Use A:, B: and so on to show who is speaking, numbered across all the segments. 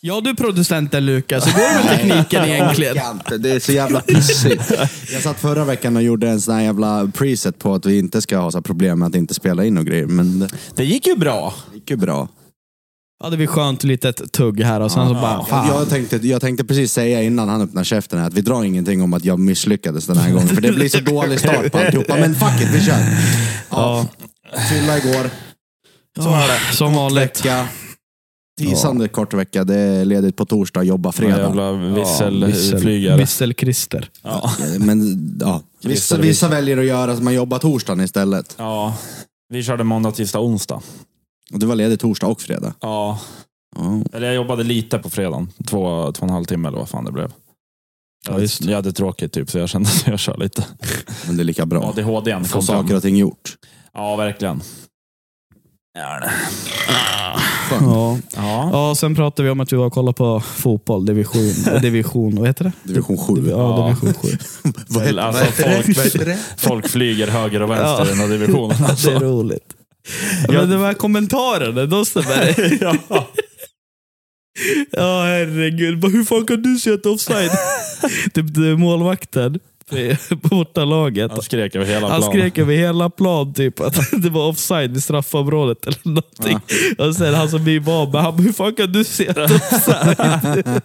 A: Ja du producenten Lukas, hur går det med tekniken egentligen?
B: orkar inte. Det är så jävla pissigt. Jag satt förra veckan och gjorde en sån här jävla preset på att vi inte ska ha så här problem med att inte spela in och grejer. Men det
C: Det gick ju bra.
B: gick ju bra.
A: Hade vi skönt litet tugg här och sen så bara, fan.
B: Jag tänkte, jag tänkte precis säga innan han öppnar käften här att vi drar ingenting om att jag misslyckades den här gången. För det blir så dålig start på alltihopa. Men fuck it, vi kör. Ja. Fylla igår,
A: Ja, som vanligt.
B: vecka. Tisande kort vecka, det är ledigt på torsdag, jobba fredag.
C: Jävla visselflygare.
A: Vissel-Christer.
C: Ja.
B: Men ja, vissa, vissa väljer att göra att man jobbar torsdagen istället.
C: ja. Vi körde måndag, tisdag, onsdag.
B: Och det var ledigt torsdag och fredag.
C: Ja.
B: Ja.
C: Eller jag jobbade lite på fredagen. Två, två och en halv timme eller vad fan det blev.
A: Ja, just det.
C: Jag hade tråkigt typ, så jag kände att jag kör lite.
B: Men det är lika bra.
C: ADHDn
B: Få
C: kom fram.
B: saker och ting gjort.
C: Ja, verkligen. Ja, det-
A: Ja.
C: Ja.
A: ja, sen pratade vi om att vi var och kollade på fotboll, division, division vad heter det?
B: Division 7.
A: Ja, division 7.
B: Vad heter,
C: Alltså,
B: vad heter
C: folk-
B: det? Vad heter det?
C: Folk flyger höger och vänster
A: Ja.
C: i den här divisionen.
A: Det är
C: Alltså.
A: roligt. Men de här kommentarerna, de stämmer.
C: Ja.
A: Ja, herregud. Bara, Hur fan kan du se ett offside? typ det är målvakten på bortalaget.
C: Han skrek över hela
A: Han
C: planen.
A: skrek över hela plan typ att det var offside i straffområdet eller någonting. Och sen han som blev av med, han bara, hur fan kan du se ett offside?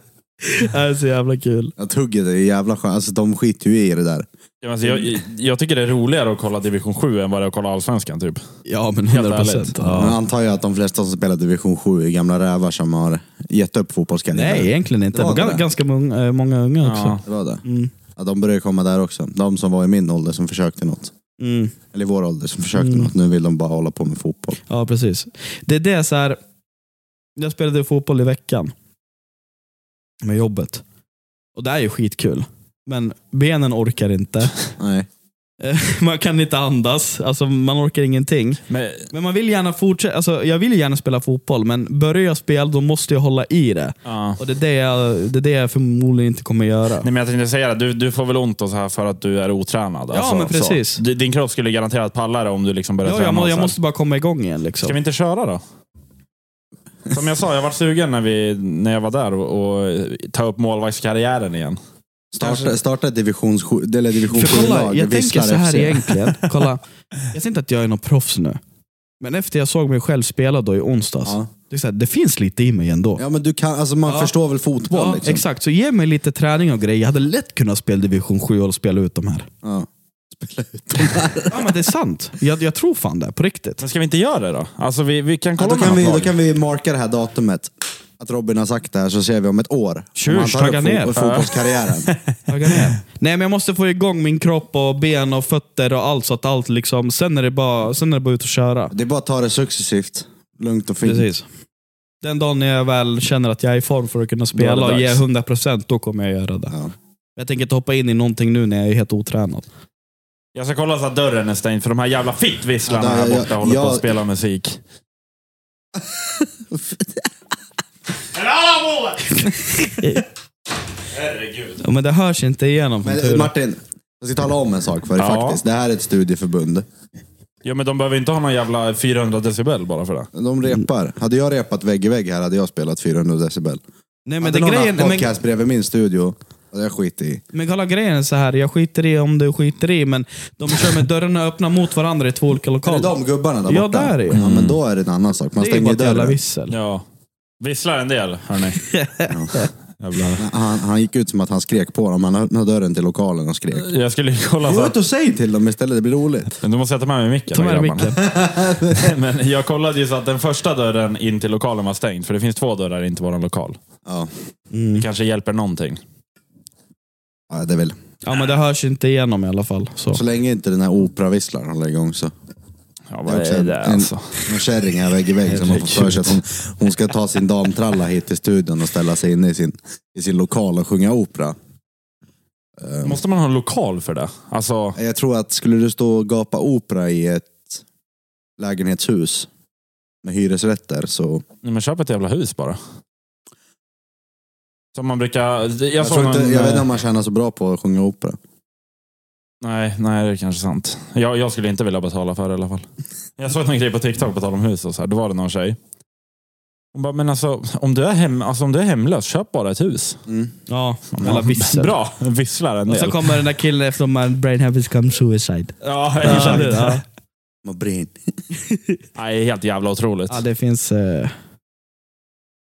A: det är så jävla kul.
B: Att hugget är jävla skönt. Alltså, de skiter ju i det där.
C: Ja, Alltså, jag, jag tycker det är roligare att kolla division 7 än vad det är att kolla allsvenskan. Typ.
A: Ja, men
C: Helt ärligt.
B: Men antar jag att de flesta som spelar division 7 är gamla rävar som har gett upp fotbollskarriären.
A: Nej, egentligen inte.
B: Det var det
A: Gan-
B: där.
A: ganska många, eh, många unga också.
C: Ja.
B: Det var det.
A: Mm.
B: Ja, de börjar komma där också. De som var i min ålder som försökte något.
A: Mm.
B: Eller i vår ålder som försökte något. Nu vill de bara hålla på med fotboll.
A: Ja, precis. Det, det är så här. Jag spelade fotboll i veckan. Med jobbet. Och det är ju skitkul. Men benen orkar inte.
B: Nej.
A: Man kan inte andas. Alltså, man orkar ingenting.
C: Men,
A: Men man vill gärna fortsätta. Alltså, jag vill ju gärna spela fotboll, men börjar jag spela då måste jag hålla i det.
C: ja.
A: Och det är det jag, det är det jag förmodligen inte kommer göra.
C: Nej, men jag tänkte säga det, du, du får väl ont och så här för att du är otränad. Alltså,
A: Ja, men precis.
C: Så. Di- Din kropp skulle garanterat palla det om du liksom börjar
A: Ja,
C: träna.
A: jag, må,
C: och
A: jag
C: så här.
A: måste bara komma igång igen.
C: Ska
A: Liksom.
C: vi inte köra då? Som jag sa, jag var sugen när, vi, när jag var där och, och ta upp målvaktskarriären igen.
B: Starta, starta ett division 7 eller division
A: För
B: 7-lag.
A: kolla, jag tänker
B: Visslar
A: så här
B: FC.
A: egentligen. Kolla, jag ser inte att jag är någon proffs nu. Men efter jag såg mig själv spela då i onsdags,
B: Ja.
A: det, är så här, det finns lite i mig ändå.
B: Ja, men du kan, alltså man
A: Ja.
B: förstår väl fotboll?
A: Ja,
B: liksom.
A: Exakt, så ge mig lite träning och grejer. Jag hade lätt kunnat spela division 7 och spela ut de här.
B: Ja. Spela ut dem här.
A: Ja, men det är sant. Jag, jag tror fan det, på riktigt.
C: Men ska vi inte göra det då? Alltså, vi, vi kan
B: Ja,
C: kolla
B: då,
C: med
B: kan
C: något
B: vi,
C: lag.
B: då kan vi marka det här datumet. Att Robin har sagt det här så ser vi om ett år.
A: Tjur,
B: om han tar upp
A: tagga ner.
B: fot- fotbollskarriären.
A: Tagga ner. Nej, men jag måste få igång min kropp och ben och fötter och allt så att allt liksom... Sen är det bara, sen är det bara ut och köra.
B: Det är bara att ta det successivt. Lugnt och fint.
A: Precis. Den dagen när jag väl känner att jag är i form för att kunna
C: Då
A: spela
C: är det
A: och ge
C: dags.
A: 100% då kommer jag göra det.
B: Ja.
A: Jag tänker inte hoppa in i någonting nu när jag är helt otränad.
C: Jag ska kolla så att dörren är stängd för de här jävla fittvisslarna
B: Ja,
C: här
B: jag-
C: borta håller
B: jag-
C: på att spela musik. Bravo! Herregud.
A: Ja, men det hörs inte igenom. för
B: Men
A: tur.
B: Martin, jag ska tala om en sak för dig
C: Ja.
B: faktiskt. Det här är ett studieförbund.
C: Ja, men de behöver inte ha någon jävla 400 decibel bara för det.
B: De repar. Hade jag repat vägg i vägg här hade jag spelat 400 decibel.
A: Nej, men,
B: Hade
A: det
B: någon
A: grejen,
B: haft
A: men,
B: podcast bredvid min studio hade jag skit i.
A: men kolla grejen är så här. jag skiter i om du skiter i, men de kör med dörrarna öppna mot varandra i två olika
B: Är det
A: lokaler.
B: de gubbarna där
A: Ja,
B: borta?
A: där är ju.
B: ja, men då är det en annan sak. Man
A: det är ju bara
B: stänger
A: ett jävla
B: dörren.
A: vissel.
C: Ja. Visslar en del, hörni. Jävlar.
B: Han, han gick ut som att han skrek på dem. Han öppnade dörren till lokalen och skrek.
C: Jag skulle kolla så
B: Gå
C: att...
B: ut och säg till dem istället, det blir roligt.
C: Men Du måste sätta med mig micken.
A: Ta med dig
C: grabbarna.
A: micken.
C: Men jag kollade ju så att den första dörren in till lokalen var stängd. För det finns två dörrar in till vår lokal.
B: Ja,
C: Det kanske hjälper någonting.
B: ja det är väl.
A: Ja, men det hörs inte igenom i alla fall. Så.
B: Så länge inte den här operavisslaren håller igång så.
C: Ja,
B: Det är
C: vad
B: också
C: är
B: en,
C: det
B: en,
C: alltså?
B: en kärring här vägg i vägg som har fått för sig att hon, hon ska ta sin damtralla hit till studion och ställa sig inne i sin, i sin lokal och sjunga opera. Ehm,
C: Måste man ha en lokal för det? Alltså,
B: Jag tror att skulle du stå och gapa opera i ett lägenhetshus med hyresrätter så...
C: nej, men köp ett jävla hus bara. Som man brukar... Jag,
B: Jag,
C: såg
B: tror
C: någon,
A: eh,
B: inte, jag vet inte om man tjänar så bra på att sjunga opera.
C: Nej, nej, det är kanske sant. Jag, jag skulle inte vilja betala för det i alla fall. Jag såg någon grej på TikTok på tal om hus och så här. Då var det någon tjej. Hon bara, men alltså om, du är hem, alltså om du är hemlös, köp bara ett hus.
A: Mm. Ja, eller vissel.
C: Bra, visslar en
A: Och så
C: del.
A: kommer den där killen efter my brain has become suicide.
C: Ja,
A: Ja,
C: exakt.
A: det, ja.
B: Man brinner.
C: Nej, helt jävla otroligt.
A: ja, det finns... Eh...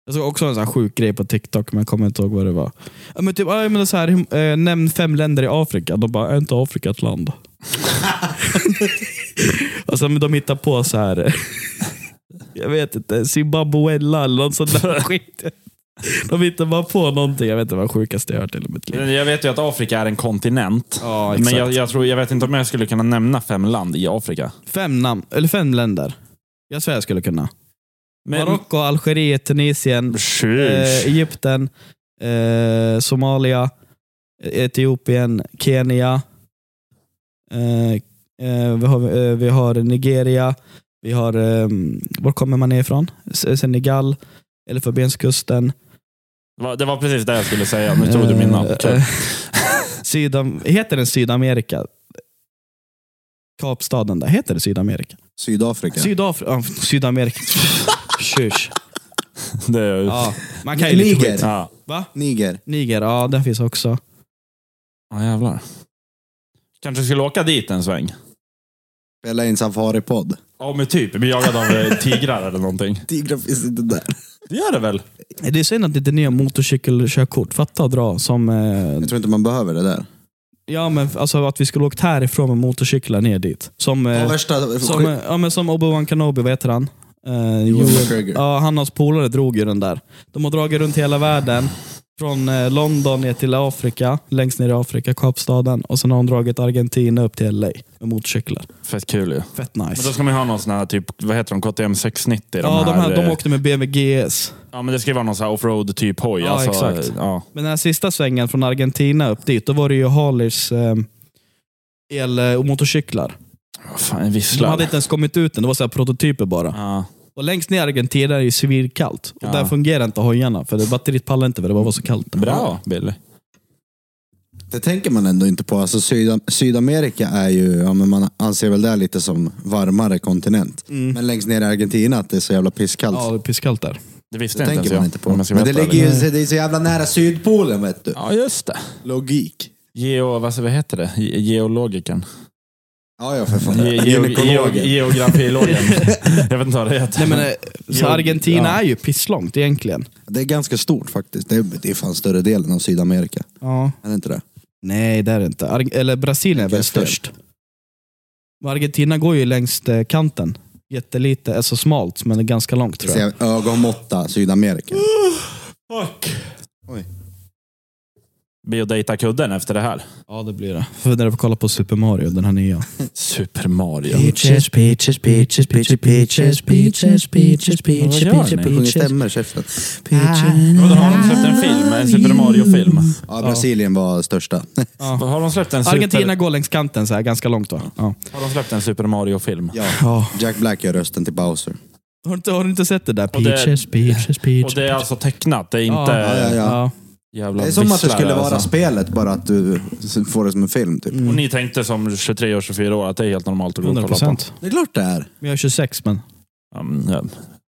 A: Jag såg också en sån här sjuk grej på TikTok, men jag kommer inte ihåg vad det var. Ja, men typ, ja, men så här, hur- eh, nämn fem länder i Afrika. De bara, är inte Afrika ett land? och sen, men de hittar på så här. jag vet inte, Zimbabwella eller något sånt där skit. De hittar bara på någonting. Jag vet inte vad sjukaste jag hört i hela mitt liv.
C: Jag vet ju att Afrika är en kontinent.
A: Ja,
C: men jag, jag, tror, jag vet inte om jag skulle kunna nämna fem land i Afrika.
A: Fem namn, eller fem länder. Jag svär jag skulle kunna.
C: Men,
A: Marocko, Algeriet, Tunisien, eh,
C: Sheesh.
A: Egypten, eh, Somalia, eh, Etiopien, Kenya. Eh, eh, vi, har, eh, vi har Nigeria. Vi har, eh, var kommer man ifrån? S- eh, Senegal, Elfenbenskusten.
C: Va- Det var precis det jag skulle säga. Nu tog du min
A: Eh,
C: napp. Okej.
A: eh, Sydam- heter den Sydamerika? Kapstaden där, heter det Sydamerika?
B: Sydafrika.
A: Sydafrika? ja, Sydamerika. Tjus.
C: Det är ju...
A: Ja, man kan ju lite
B: Niger.
A: skit.
C: Ja.
A: Va?
B: Niger.
A: Niger, ja den finns också.
C: Ja, jävlar. Kanske skulle åka dit en sväng.
B: Spela in safaripodd.
C: Ja, men typ. Bli jagad av eh, tigrar eller någonting.
B: Tigrar finns inte där.
C: Det gör det väl?
A: Det är synd att det inte är nya motorcykelkörkort. Fatta att dra som... Eh,
B: Jag tror inte man behöver det där.
A: ja men alltså att vi skulle åkt härifrån med motorcyklar ner dit. Som,
B: Ja,
A: eh,
B: värsta...
A: som, eh, ja, men som Obi-Wan Kenobi, vad heter han? Eh,
B: Joel
A: Joel-
B: McGregor.
A: ja, han och hans polare drog ju den där. De har dragit runt hela världen. Från eh, London ner till Afrika, längst ner i Afrika, Kapstaden. Och sen har de dragit Argentina upp till LA med motorcyklar.
C: Fett kul ju.
A: Fett
C: Men då
A: nice.
C: ska man ju ha någon sån här, typ, vad heter de? KTM 690?
A: ja, de, här, de
C: eh,
A: åkte med BMW GS.
C: ja, men det ska ju vara någon sån här offroad typ hoj.
A: Ja,
C: alltså,
A: exakt.
C: Ja.
A: Men den här sista svängen från Argentina upp dit, då var det ju Harleys eh, el eh, och motorcyklar.
C: Vad Fan, en
A: De
C: visslar.
A: hade inte ens kommit ut än, det var så här prototyper bara.
C: Ja.
A: Och längst ner i Argentina är det ju svinkallt. Och
C: Ja.
A: där fungerar inte hojarna, för det, batteriet pallar inte för det bara var så kallt.
C: Bra, Billy.
B: Det tänker man ändå inte på. Alltså, Syda- Sydamerika är ju, ja, men man anser väl det lite som varmare kontinent.
C: Mm.
B: Men längst ner i Argentina att det är så jävla pisskallt.
A: mm. Ja, det är pisskallt där.
C: Det visste
B: det
C: inte ens
B: tänker
C: jag.
B: man inte på.
C: om jag ska
B: Men det
C: vara helt
B: ligger ju det är så jävla nära Sydpolen vet du.
C: ärlig. Ja, just det.
B: Logik.
C: Geo, vad vad heter det? Ge- Geologiken.
B: Ja, ja för fan.
C: Ge- geo- geo-
B: Gynekologen.
C: Geografilogen. jag vet inte vad det heter.
A: Nej, men, eh, så
C: Jo,
A: Argentina
C: ja.
A: är ju pisslångt egentligen.
B: Det är ganska stort faktiskt. Det är, det är fan större delen av Sydamerika.
A: Ja.
B: Är det inte det?
A: Nej, det är det inte. Ar- eller Brasilien är
B: Vilken
A: väl
B: fel.
A: störst. Men Argentina går ju längs eh, kanten. Jättelite, alltså smalt, men det är ganska långt
B: Det
A: tror jag.
B: är ögonmåtta Sydamerika.
C: Mm. Fuck.
B: Oj.
C: Blir att dejta kudden efter det här.
A: Ja, det blir det. För när jag får kolla på Super Mario, den här nya.
C: Super Mario.
D: Peaches, peaches, peaches, peaches, peaches, peaches, peaches, peaches,
C: Ja, vad gör
D: peaches,
C: ni?
B: Sjunger
D: peaches,
B: stämmer i käften.
D: peaches.
C: Vadå, har de släppt en film? En Super Mario-film?
B: Ja, Brasilien var största.
C: Har de släppt en
A: Argentina
C: Super,
A: går längs kanten så här, ganska långt va? Ja.
C: har de släppt en Super Mario-film?
B: ja. Jack Black gör rösten till Bowser.
A: Har, du inte, har du inte sett det där?
C: Och det-
A: Peaches, peaches,
C: Och
A: peaches.
C: det är alltså tecknat? Det är
A: Ja,
C: inte
A: ja,
B: ja, ja.
A: ja.
C: jävla
B: Det är som att det
C: visslare,
B: skulle vara
C: alltså. Mm.
B: spelet, bara att du får det som en film. Typ.
C: Och ni tänkte som 23-24 år att det är helt normalt att gå och kolla på?
A: 100%.
B: Det är klart det är.
A: Men jag är 26 men.
C: Ja, men, ja.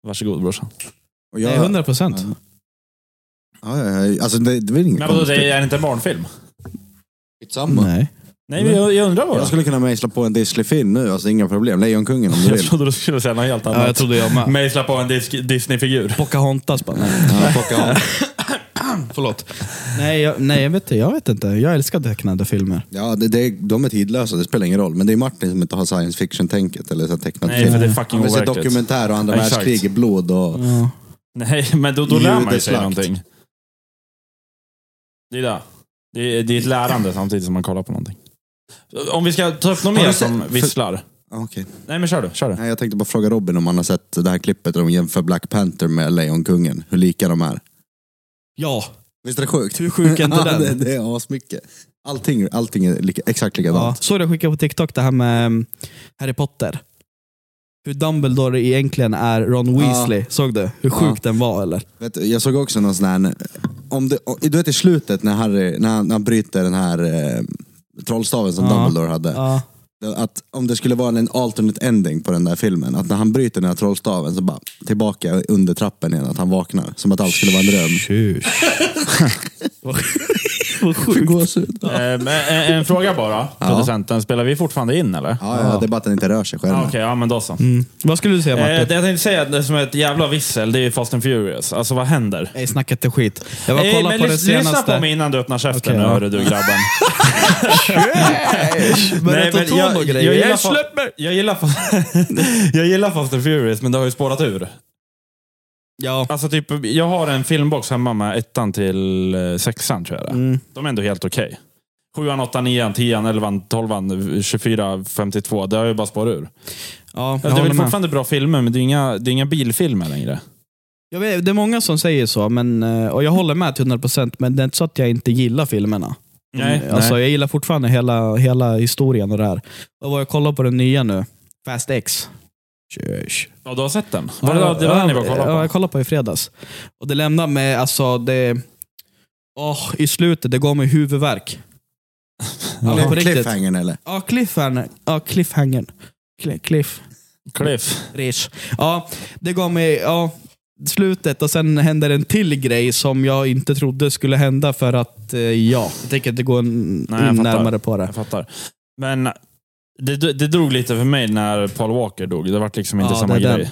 C: Varsågod brorsan.
B: Och
A: Nej, 100 procent.
B: Ja, ja, ja. Alltså, det, det är väl inget
C: Men vadå,
B: konstigt.
C: det är inte en barnfilm?
B: Skitsamma.
A: Nej.
C: Nej, men jag, jag undrar bara.
B: Jag skulle kunna mejsla på en Disney-film nu, alltså inga problem. Lejonkungen om du
C: Jag
B: vill.
C: trodde du skulle säga något helt annat.
A: Ja, jag trodde jag med.
C: Mejsla på en disk- Disney-figur.
A: Pocahontas bara. Nej.
B: Ja, plocka av.
A: Förlåt. Nej, jag, nej jag, vet, inte- jag vet inte. Jag älskar tecknade filmer.
B: ja, det, det, de är tidlösa, det spelar ingen roll. Men det är Martin som inte har science fiction-tänket eller så här tecknat
C: Nej, för det är fucking
B: Han vill se
C: overkligt.
B: dokumentär och andra
C: Exakt.
B: världskrig i blod och...
A: Ja.
C: Nej, men då, då lär man ju sig
B: Judeslakt.
C: någonting. Det är det. Det är, det är ett lärande samtidigt som man kollar på någonting. Om vi ska ta upp något
B: Har
C: mer
B: du sett-
C: som visslar.
B: Ja, Okej.
C: Nej, men kör du. Kör du.
B: Nej, jag tänkte bara fråga Robin om han har sett det här klippet där de jämför Black Panther med Lejonkungen, hur lika de är.
A: ja.
B: Visst är det sjukt?
A: Hur sjuk är inte
B: ja,
A: den?
B: det, det är asmycket. Allting, allting är lika, exakt
A: ja.
B: likadant.
A: Såg du jag skickade på TikTok det här med mm, Harry Potter? Hur Dumbledore egentligen är Ron
B: Ja.
A: Weasley. Såg du hur sjuk den var eller?
B: Vet du, jag såg också någon sån här... Om det, om- du vet i slutet när Harry, när han, när han bryter den här... eh, trollstaven som
A: Ja.
B: Dumbledore hade.
A: Ja.
B: Att om det skulle vara en alternate ending på den där filmen, att när han bryter den här trollstaven så bara tillbaka under trappen igen, att han vaknar. Som att allt skulle vara en dröm.
A: Vad sjukt.
B: Gåshud. Ja,
C: Eh, men en, en fråga bara, producenten. Spelar vi fortfarande in eller?
B: ja, det är bara att den inte rör sig själv.
C: Ah, Okej, ja men då så.
A: Mm. Vad skulle du säga Martin?
C: Eh, det jag tänkte säga, det som är ett jävla vissel, det är ju Fast and Furious. Alltså vad händer?
A: Nej, snacka inte skit. Jag var och
C: Eh,
A: kollade
C: men
A: på den
C: lys- lyssna
A: senaste.
C: på mig innan du öppnar käften
A: Okej,
C: nu
A: ja.
C: hörru du grabben.
A: Börja ta
C: men
A: ton och grejer.
C: gillar
A: Jag
C: fa- jag, gillar fa- jag gillar Fast and Furious, men det har ju spårat ur.
A: Ja.
C: Alltså typ, jag har en filmbox hemma med ettan till eh, sexan tror jag det är.
A: Mm.
C: De är ändå helt okej. Sjuan, åttan, nian, tian, elvan, tolvan, 24, 52. Det har ju bara spårat ur.
A: Ja,
C: Ja,
A: jag
C: det är
A: håller
C: väl
A: med.
C: fortfarande bra filmer, men det är inga, det är inga bilfilmer längre.
A: Jag vet, det är många som säger så, men, eh, och jag håller med till 100% men det är inte så att jag inte gillar filmerna.
C: Nej,
A: alltså,
C: nej.
A: Jag gillar fortfarande hela, hela historien och det här. Och vad jag kollar på den nya nu, Fast X. Tjösch.
C: Ja, du har sett den? Var det, det var den ni var och kollade
A: Ja, jag
C: på?
A: kollade på i fredags. Och det lämnar mig, alltså det... Åh, I slutet, det gav mig huvudvärk. Ja, men på riktigt.
B: Cliffhangern eller?
A: Ja, cliffhangern. Ja, cliffhangern. Cli- Cliff.
C: Cliff.
A: Rish. Ja, det gav mig ja, slutet och sen händer en till grej som jag inte trodde skulle hända för att eh, ja, jag tänker inte gå en,
C: Nej, jag
A: in
C: fattar.
A: närmare på det.
C: Jag fattar. Men det, det drog lite för mig när Paul Walker dog. Det var liksom inte
A: Ja,
C: samma
A: det är
C: grej.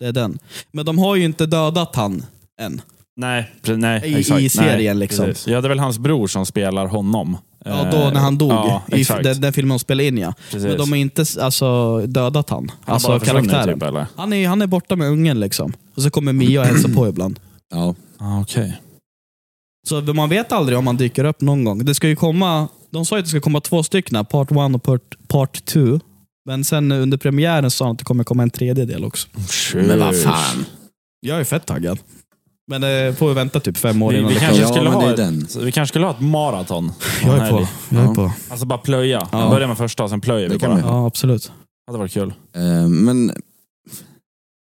A: Det är den. Men de har ju inte dödat han än.
C: Nej, pre- nej,
A: I- i
C: exakt.
A: serien
C: nej,
A: liksom.
C: precis. Ja, det är väl hans bror som spelar honom.
A: Ja, då när han dog.
C: Eh, Ja,
A: I f-
C: exakt.
A: den, den filmen de spelade in ja.
C: precis.
A: Men de har inte alltså, dödat han.
C: han
A: alltså
C: bara försvinner
A: karaktären.
C: Typ, eller?
A: Han, är, han är borta med ungen liksom. Och så kommer Mia och hälsar på ibland.
B: Ja.
C: Ah, Okej.
A: Så man vet aldrig om han dyker upp någon gång. Det ska ju komma, de sa ju att det ska komma två stycken, part one och part- part two. Men sen under premiären sa de att det kommer komma en tredje del också.
B: Men vad fan.
A: Jag är fett taggad. Men eh, får vi vänta typ fem år
C: Vi,
A: innan
C: vi,
A: det
C: kanske
A: kommer.
B: Ja,
C: skulle
B: men det
C: ha
B: är
C: ett,
B: den.
C: vi kanske skulle ha ett maraton.
A: Jag är på. Jag är på.
C: Alltså bara plöja.
A: Ja.
C: Börja med första och sen plöjer vi
B: Det kan
C: bara.
B: vi.
C: Det
A: Ja, absolut.
C: hade varit kul.
B: Eh, Men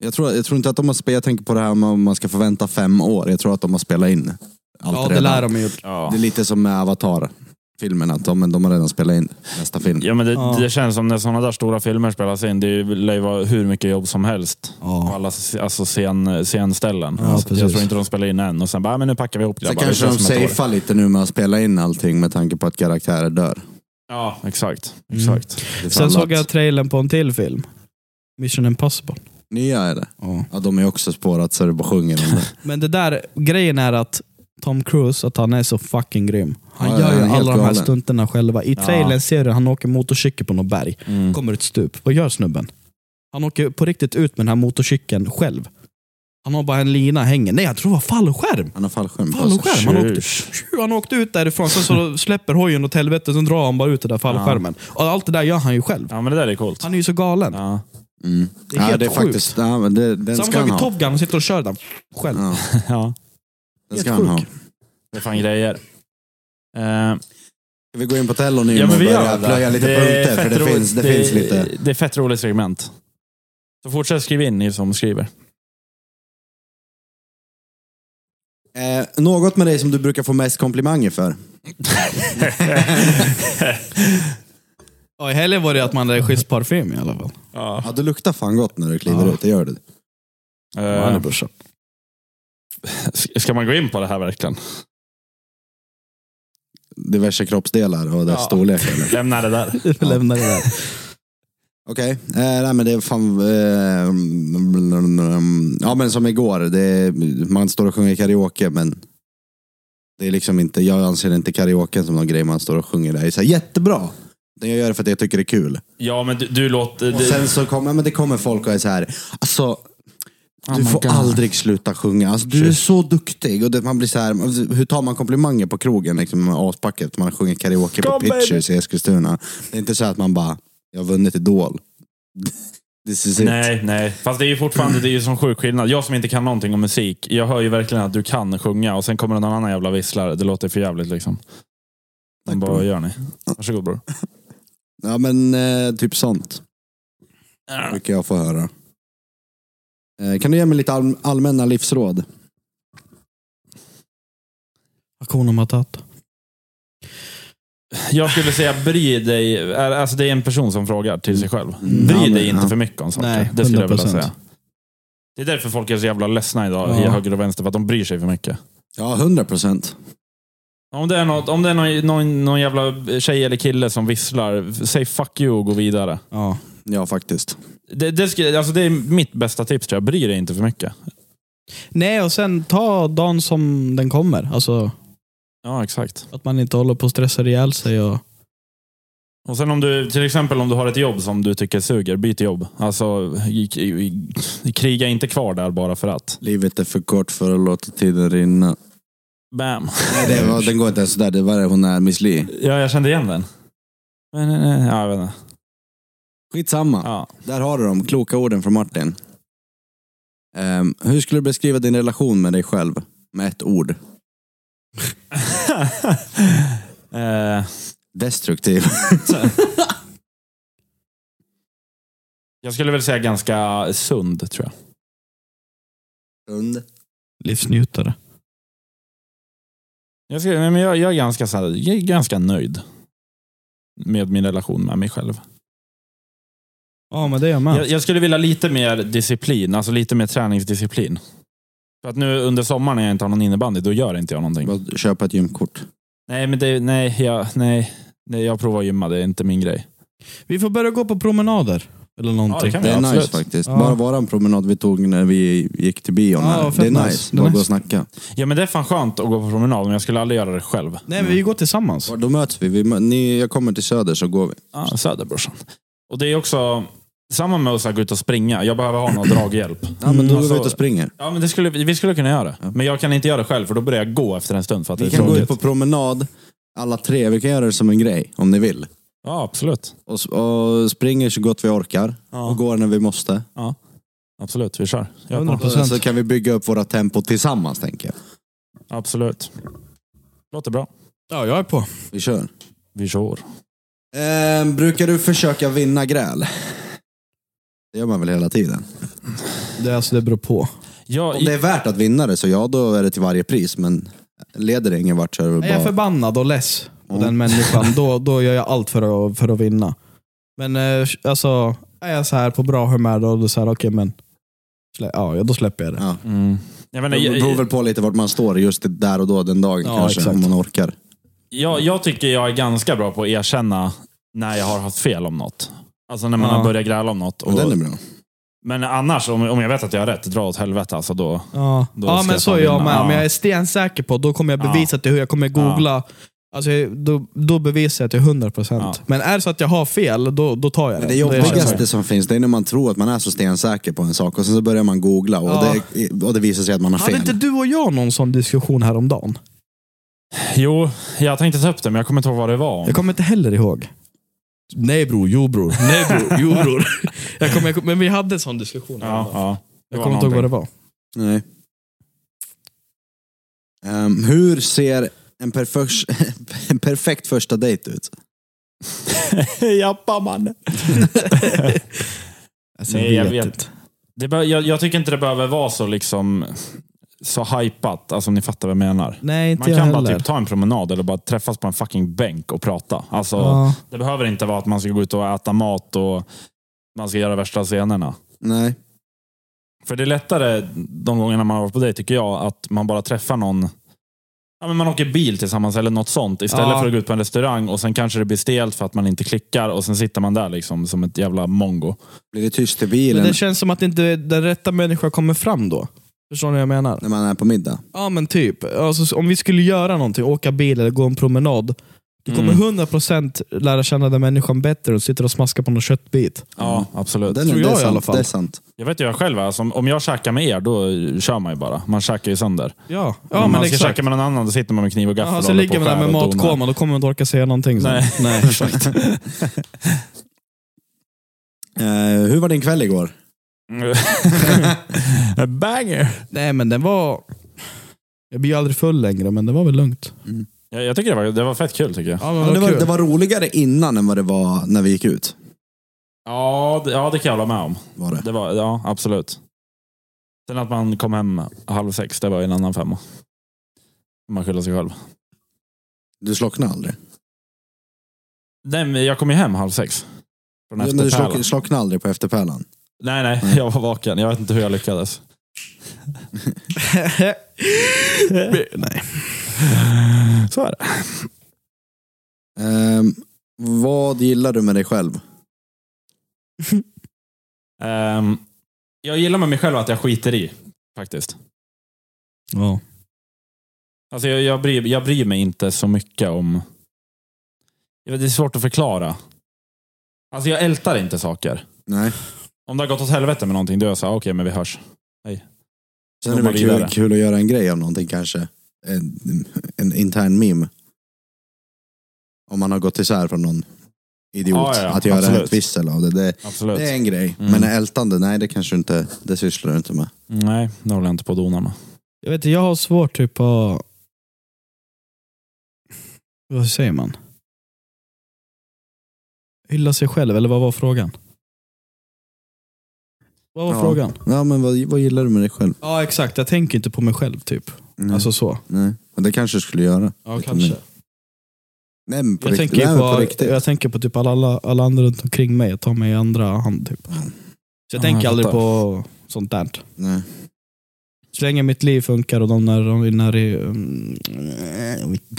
B: jag tror, jag tror inte att de har spelat, jag tänker på det här med om man ska förvänta fem år. Jag tror att de har spelat in allt
A: Ja, det
B: redan.
A: lär de ju gjort.
C: Ja.
B: Det är lite som med Avatar. Filmen, att de, men de har redan spelat in nästa film.
C: Ja, men det,
A: Ja.
C: det känns som när sådana där stora filmer spelas in, det lär ju vara hur mycket jobb som helst. På
A: Ja.
C: alla s- alltså scen, scenställen.
A: Ja,
C: så att jag
A: precis.
C: tror inte de spelar in än och sen bara, "Ah, men nu packar vi ihop
B: Sen
C: grabbar.
B: kanske
C: Vi
B: de
C: ses om ett år."
B: safear lite nu med att spela in allting med tanke på att karaktärer dör.
C: Ja, exakt.
A: Mm.
C: exakt.
A: Sen
B: Det faller
A: såg jag
B: att-
A: trailern på en till film. Mission Impossible.
B: Nya är det.
A: Ja.
B: Ja, de är också spårat så det bara sjunger om det.
A: Men det där, grejen är att Tom Cruise, att han är så fucking grym. Han
B: Ja,
A: gör
B: han
A: ju
B: är helt
A: alla de här
B: galen.
A: stunterna själva. I
C: Ja.
A: trailern ser du han åker motorcykel på något berg.
C: Mm.
A: kommer ett stup. Vad gör snubben? Han åker på riktigt ut med den här motorcykeln själv. Han har bara en lina hänger. Nej, jag tror det var fallskärm.
B: Han har fallskärm på sig.
A: Fallskärm. Han åkte,
C: Tjus.
A: Tju, han åkte ut därifrån, sen så släpper hojen åt helvete, sen drar han bara ut den där fallskärmen. Och allt det där gör han ju själv.
C: Ja, men det där är coolt.
A: Han är ju så galen.
C: Ja.
B: Mm.
A: Det är helt
B: ja, det är
A: sjukt.
B: faktiskt, ja, men det, den
A: Samma
B: ska
A: sak
B: han
A: i
B: ha.
A: Top Gun, han sitter och kör den själv.
B: Ja,
C: ja,
B: den
A: Helt
B: ska han ha.
A: sjuk.
B: Ska
C: det är fan grejer. Eh,
B: vi gå in på Tello nu
C: ja, men
B: och
C: vi
B: börja
C: gör det.
B: plöja lite
C: Det är
B: punkter? För
C: fett
B: det
C: roligt.
B: finns, det finns lite.
C: Det är fett roligt segment. Så fortsätt skriva in ni som skriver.
B: Eh, något med dig som du brukar få mest komplimanger för?
A: Ja, I helgen var det att man hade schysst parfym i alla fall.
C: ja.
B: Ja, du luktar fan gott när du kliver
A: Ja.
B: ut, det gör du.
A: Ja, det
C: Eh,
A: brorsan.
C: ska man gå in på det här verkligen?
B: Diverse kroppsdelar och dess
C: Ja.
B: storlek. eller?
C: Lämna det där.
A: Vi lämnar det där.
B: Okej, eh, nej men det är fan... Eh, ja men som igår, det är, man står och sjunger karaoke men det är liksom inte, jag anser inte karaoke som någon grej man står och sjunger där. Det är så här, jättebra! Men jag gör det för att jag tycker det är kul.
C: Ja, men du, du låter...
B: Och
C: Du,
B: sen så kommer, men det kommer folk och är så här, alltså
C: Oh
B: du
C: my
B: får
C: God.
B: aldrig sluta sjunga. Alltså, du är så duktig. Och det, man blir så här, alltså, hur tar man komplimanger på krogen liksom, med aspacket? Man sjunger karaoke på
C: Kom, baby.
B: Pitchers i Eskilstuna. Det är inte så att man bara, jag har vunnit Idol. This is it.
C: Nej, nej. Fast det är ju fortfarande det är ju som sjuk skillnad. Jag som inte kan någonting om musik, jag hör ju verkligen att du kan sjunga och sen kommer det någon annan jävla visslare. Det låter för jävligt liksom.
B: Tack,
C: Man bara,
B: bror.
C: vad gör ni? Varsågod bror.
B: Ja men eh, typ sånt brukar jag få höra. Eh, kan du ge mig lite all- allmänna livsråd?
A: Hakuna Matata.
C: Jag skulle säga bry dig. är- Alltså det är en person som frågar till sig själv. Bry
B: Mm. Ja, men-
C: dig inte
B: ja.
C: för mycket om saker.
A: Nej,
C: det skulle jag vilja
A: 100%.
C: säga. Det är därför folk är så jävla ledsna idag i
A: Ja.
C: höger och vänster. För att de bryr sig för mycket.
B: Ja, 100 procent.
C: Om det är, något, om det är någon, någon, någon jävla tjej eller kille som visslar, säg fuck you och gå vidare.
A: Ja.
B: Ja, faktiskt.
C: Det, det, skulle, alltså det är mitt bästa tips tror jag. Bry dig inte för mycket.
A: Nej, och sen ta dagen som den kommer. Alltså
C: Ja, exakt.
A: att man inte håller på och stressar ihjäl sig. Och...
C: Och sen om du, till exempel om du har ett jobb som du tycker suger, byt jobb. Alltså, i- i- i- kriga inte kvar där bara för att.
B: Livet är för kort för att låta tiden rinna.
C: Bam.
B: Nej, det var, den går inte ens sådär. Det var det hon är, Miss Li.
C: Ja, jag kände igen den. Men, eh, eh, ja, jag vet inte.
B: Skitsamma.
C: Ja.
B: Där har du de kloka orden från Martin. Ehm, hur skulle du beskriva din relation med dig själv? Med ett ord.
C: eh,
B: Destruktiv.
C: jag skulle väl säga ganska sund, tror jag.
B: Sund.
A: Livsnjutare.
C: Jag, skulle, nej, men jag, jag, är ganska, så här, jag är ganska nöjd med min relation med mig själv.
A: Ja, men det är jag med.
C: Jag, jag skulle vilja lite mer disciplin, alltså lite mer träningsdisciplin. För att nu under sommaren när jag inte har någon innebandy, då gör inte jag någonting.
B: Vad- Köpa ett gymkort.
C: Nej, men det, nej, jag, nej, nej, jag provar gymma, det är inte min grej.
A: Vi får börja gå på promenader. Eller någonting.
C: kan vi.
B: Det är
C: Ja, absolut.
B: nice faktiskt.
A: Ja.
B: Bara våran promenad vi tog när vi gick till bion
A: Ja,
B: här.
A: fett
B: Det är nice.
A: nice. Det är
B: Bara
A: nice.
B: gå och snacka.
C: Ja, men det är fan skönt att gå på promenad, men jag skulle aldrig göra det själv.
A: Nej, men vi går tillsammans.
B: Var- Då möts vi. vi mö- ni, jag kommer till Söder så går vi.
C: Ja, Söderbrorsan. Och det är också samma med att så här gå ut och springa. Jag behöver ha någon draghjälp.
B: Ja, men då går
C: alltså-
B: vi ut och springer.
C: Ja, men det skulle, vi skulle kunna göra det. Men jag kan inte göra det själv, för då börjar jag gå efter en stund för att
B: Vi
C: det är
B: kan gå
C: tråkigt.
B: ut på promenad alla tre. Vi kan göra det som en grej om ni vill.
C: Ja, absolut.
B: Och, s- och springer så gott vi orkar.
C: Ja.
B: Och går när vi måste.
C: Absolut, vi kör. Jag är på.
A: 100%.
B: Så kan vi bygga upp våra tempo tillsammans tänker jag.
C: Absolut. Låter bra.
A: Ja, jag är på.
B: Vi kör.
C: Vi kör.
B: Ehm, brukar du försöka vinna gräl? Det gör man väl hela tiden.
A: Det, alltså, det beror på.
C: Ja,
B: Om det är värt att vinna det så ja, då är det till varje pris. Men leder det ingen vart så är det
A: Är jag
B: väl bara...
A: förbannad och less på
B: Mm.
A: den människan, då, då gör jag allt för att, för att vinna. Men eh, alltså, är jag så här på bra humör, då, då, så här, okej, men, slä, ja, då släpper jag det.
B: Ja.
C: Mm. Jag, menar,
B: Det
C: jag,
B: beror väl
C: jag,
B: på lite vart man står just där och då, den dagen
A: Ja,
B: kanske.
A: exakt.
B: Om man orkar.
C: jag, jag tycker jag är ganska bra på att erkänna när jag har haft fel om något. Alltså när man
A: Ja.
C: har börjat gräla om något.
B: Men
C: Och,
B: den är bra.
C: men annars, om, om jag vet att jag har rätt, dra åt helvete alltså då.
A: Ja,
C: Då
A: ja
C: ska
A: men
C: jag
A: så
C: fan
A: är jag
C: vinna.
A: med.
C: Ja.
A: Men jag är stensäker på, då kommer jag
C: Ja.
A: bevisa till hur jag kommer googla. Alltså, jag- då, då bevisar jag till 100%.
C: Ja.
A: Men är det så att jag har fel, då, då tar jag det.
B: Men det
A: Då är jag
B: jobbigaste
A: så.
B: som finns, det är när man tror att man är så stensäker på en sak och sen så börjar man googla och,
A: Ja.
B: det, och det visar sig att man har
A: Hade inte
B: fel.
A: du och jag någon sån diskussion häromdagen?
C: Jo, jag tänkte ta upp det, men jag kommer inte ihåg vad det var. om.
A: Jag kommer inte heller ihåg. Nej bror, jo bror. Nej bror, jo bror. jag kommer, jag kommer, men vi hade en sån diskussion.
C: Ja,
A: häromdagen.
C: ja. Det
A: jag
C: var
A: kommer inte ihåg vad det
C: någonting.
A: var.
B: Nej. Ehm, hur ser en, perfekt, en perfekt första dejt ut?
C: Jappa man.
A: Alltså,
C: Nej, jag vet Det be- jag, jag tycker inte det behöver vara så liksom så hypat, alltså om ni fattar vad jag menar.
A: Nej, inte
C: Man
A: jag
C: kan
A: heller.
C: bara typ ta en promenad eller bara träffas på en fucking bänk och prata. Alltså,
A: ja.
C: Det behöver inte vara att man ska gå ut och äta mat och man ska göra värsta scenerna.
B: Nej.
C: För det är lättare de gångerna man har varit på det tycker jag, att man bara träffar någon. Ja, men man åker bil tillsammans eller något sånt istället
A: Ja.
C: för att gå ut på en restaurang och sen kanske det blir stelt för att man inte klickar och sen sitter man där liksom som ett jävla mongo.
B: Blir det tyst i
A: Men
B: bilen
A: det känns som att inte den rätta människan kommer fram då. Förstår ni vad jag menar?
B: när man är på middag?
A: Ja men typ. Alltså, om vi skulle göra någonting, åka bil eller gå en promenad. Du kommer
C: Mm.
A: 100% lära känna den människan bättre och sitter och smaskar på någon köttbit.
C: Ja, absolut.
B: Den,
A: Tror
B: det är
A: jag i
B: sant,
A: alla fall.
B: Det är sant.
C: Jag vet ju jag själv, alltså, om- om jag käkar med er då kör man ju bara. Man käkar ju sönder.
A: Ja,
C: om
A: ja
C: man
A: men
C: ska
A: exakt.
C: käka med någon annan då sitter man med kniv och gaffel
A: Jaha,
C: och
A: så
C: håller
A: ligger
C: på
A: man där
C: skär
A: med
C: och donar.
A: matkoma, då kommer man inte orka säga någonting. sen.
C: Nej.
A: Nej exakt.
B: Eh, hur var din kväll igår?
C: Banger!
A: Nej men den var... Jag blir ju aldrig full längre, men det var väl lugnt.
C: Jag, jag tycker det var, det var fett kul tycker jag.
A: Ja, men
B: Ja, det, var,
A: kul.
B: det var roligare innan än vad det var när vi gick ut.
C: Ja, det, ja, det kan jag hålla med om.
B: Var det.
C: Det var, ja, absolut. Sen att man kom hem halv sex, det var en annan femma. Man skyller sig själv.
B: Du slocknade aldrig.
C: Nej, men jag kom ju hem halv sex. Från
B: Men du
C: efterpärlan.
B: slock- slocknade aldrig på efterpärlan?
C: Nej, nej, jag var vaken. Jag vet inte hur jag lyckades.
A: Nej.
C: Så är det.
B: Ehm, vad gillar du med dig själv?
C: Ehm, jag gillar med mig själv att jag skiter i, faktiskt.
A: Ja.
C: Alltså jag, jag, bryr, jag bryr mig inte så mycket om... Jag vet, Det är svårt att förklara. Alltså jag ältar inte saker.
B: Nej.
C: Om det har gått åt helvete med någonting, då är jag såhär, okej, men vi hörs.
B: Sen är
C: Går
B: det
C: man
B: väl kul,
C: vidare?
B: kul att göra en grej av någonting kanske. En, en intern meme. Om man har gått isär från någon idiot.
C: Ja, ja, ja.
B: att göra
C: Absolut.
B: ett vissel av det. Det,
C: Absolut.
B: det är en grej.
C: Mm.
B: Men ältande, nej det kanske du inte, det sysslar du inte med.
C: Nej, det håller jag inte på att dona med.
A: Jag vet inte, jag har svårt typ att... Vad säger man? Hylla sig själv, eller vad var frågan? Vad var
B: Ja.
A: frågan?
B: Ja men vad, vad gillar du med dig själv?
A: Ja exakt, jag tänker inte på mig själv typ.
B: Nej.
A: Alltså så.
B: nej. Men det kanske du skulle göra.
A: Ja
B: Lite kanske. mer. Nej men på
A: Jag
B: riktigt.
A: tänker,
B: nej,
A: ju
B: men på
A: på,
B: riktigt.
A: jag tänker på typ alla- alla, alla andra runt omkring mig, jag tar mig i andra hand typ. Så jag
C: Ja,
A: tänker
C: jag
A: aldrig
C: fattar.
A: på sånt där. typ.
B: Nej.
A: Så länge mitt liv funkar och de där, de när, mm,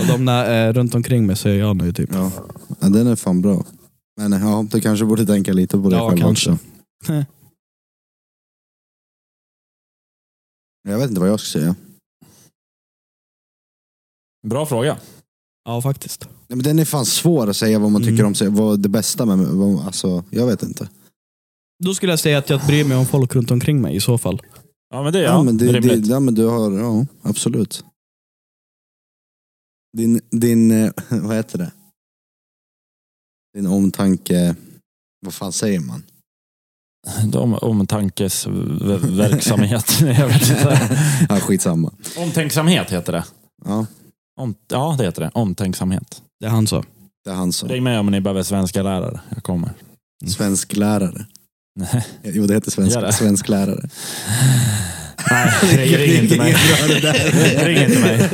A: och de där eh, runt omkring mig så är jag nöjd typ.
B: Ja. ja, den är fan bra. Men ja, du kanske borde tänka lite på det
A: Ja,
B: själv
A: kanske.
B: också. Jag vet inte vad jag ska säga.
C: Bra fråga.
A: Ja faktiskt.
B: Nej, men den är fan svår att säga vad man tycker
A: Mm.
B: om sig, vad det bästa med vad, alltså, jag vet inte.
A: Då skulle jag säga att jag bryr mig om folk runt omkring mig i så fall.
C: Ja, men det är
B: Ja,
C: jag.
B: men, det, det,
C: Rimligt.
B: ja, men du har, ja absolut. Din, din, eh, vad heter det? Din omtanke, vad fan säger man?
C: Om, omtankesverksamhet. jag vet inte.
B: Ja, skitsamma.
C: Omtänksamhet heter det.
B: Ja,
C: Om, ja, det heter det. Omtänksamhet.
A: Det han sa.
B: det är han som
C: Ring mig om ni behöver svenska lärare. Jag kommer.
B: svensk lärare.
C: Nej.
B: Jo, det heter svensk,
C: Gör det?
B: svensk lärare.
C: Nej, ring inte mig.
B: Ingen bra det där.
C: Ring inte mig.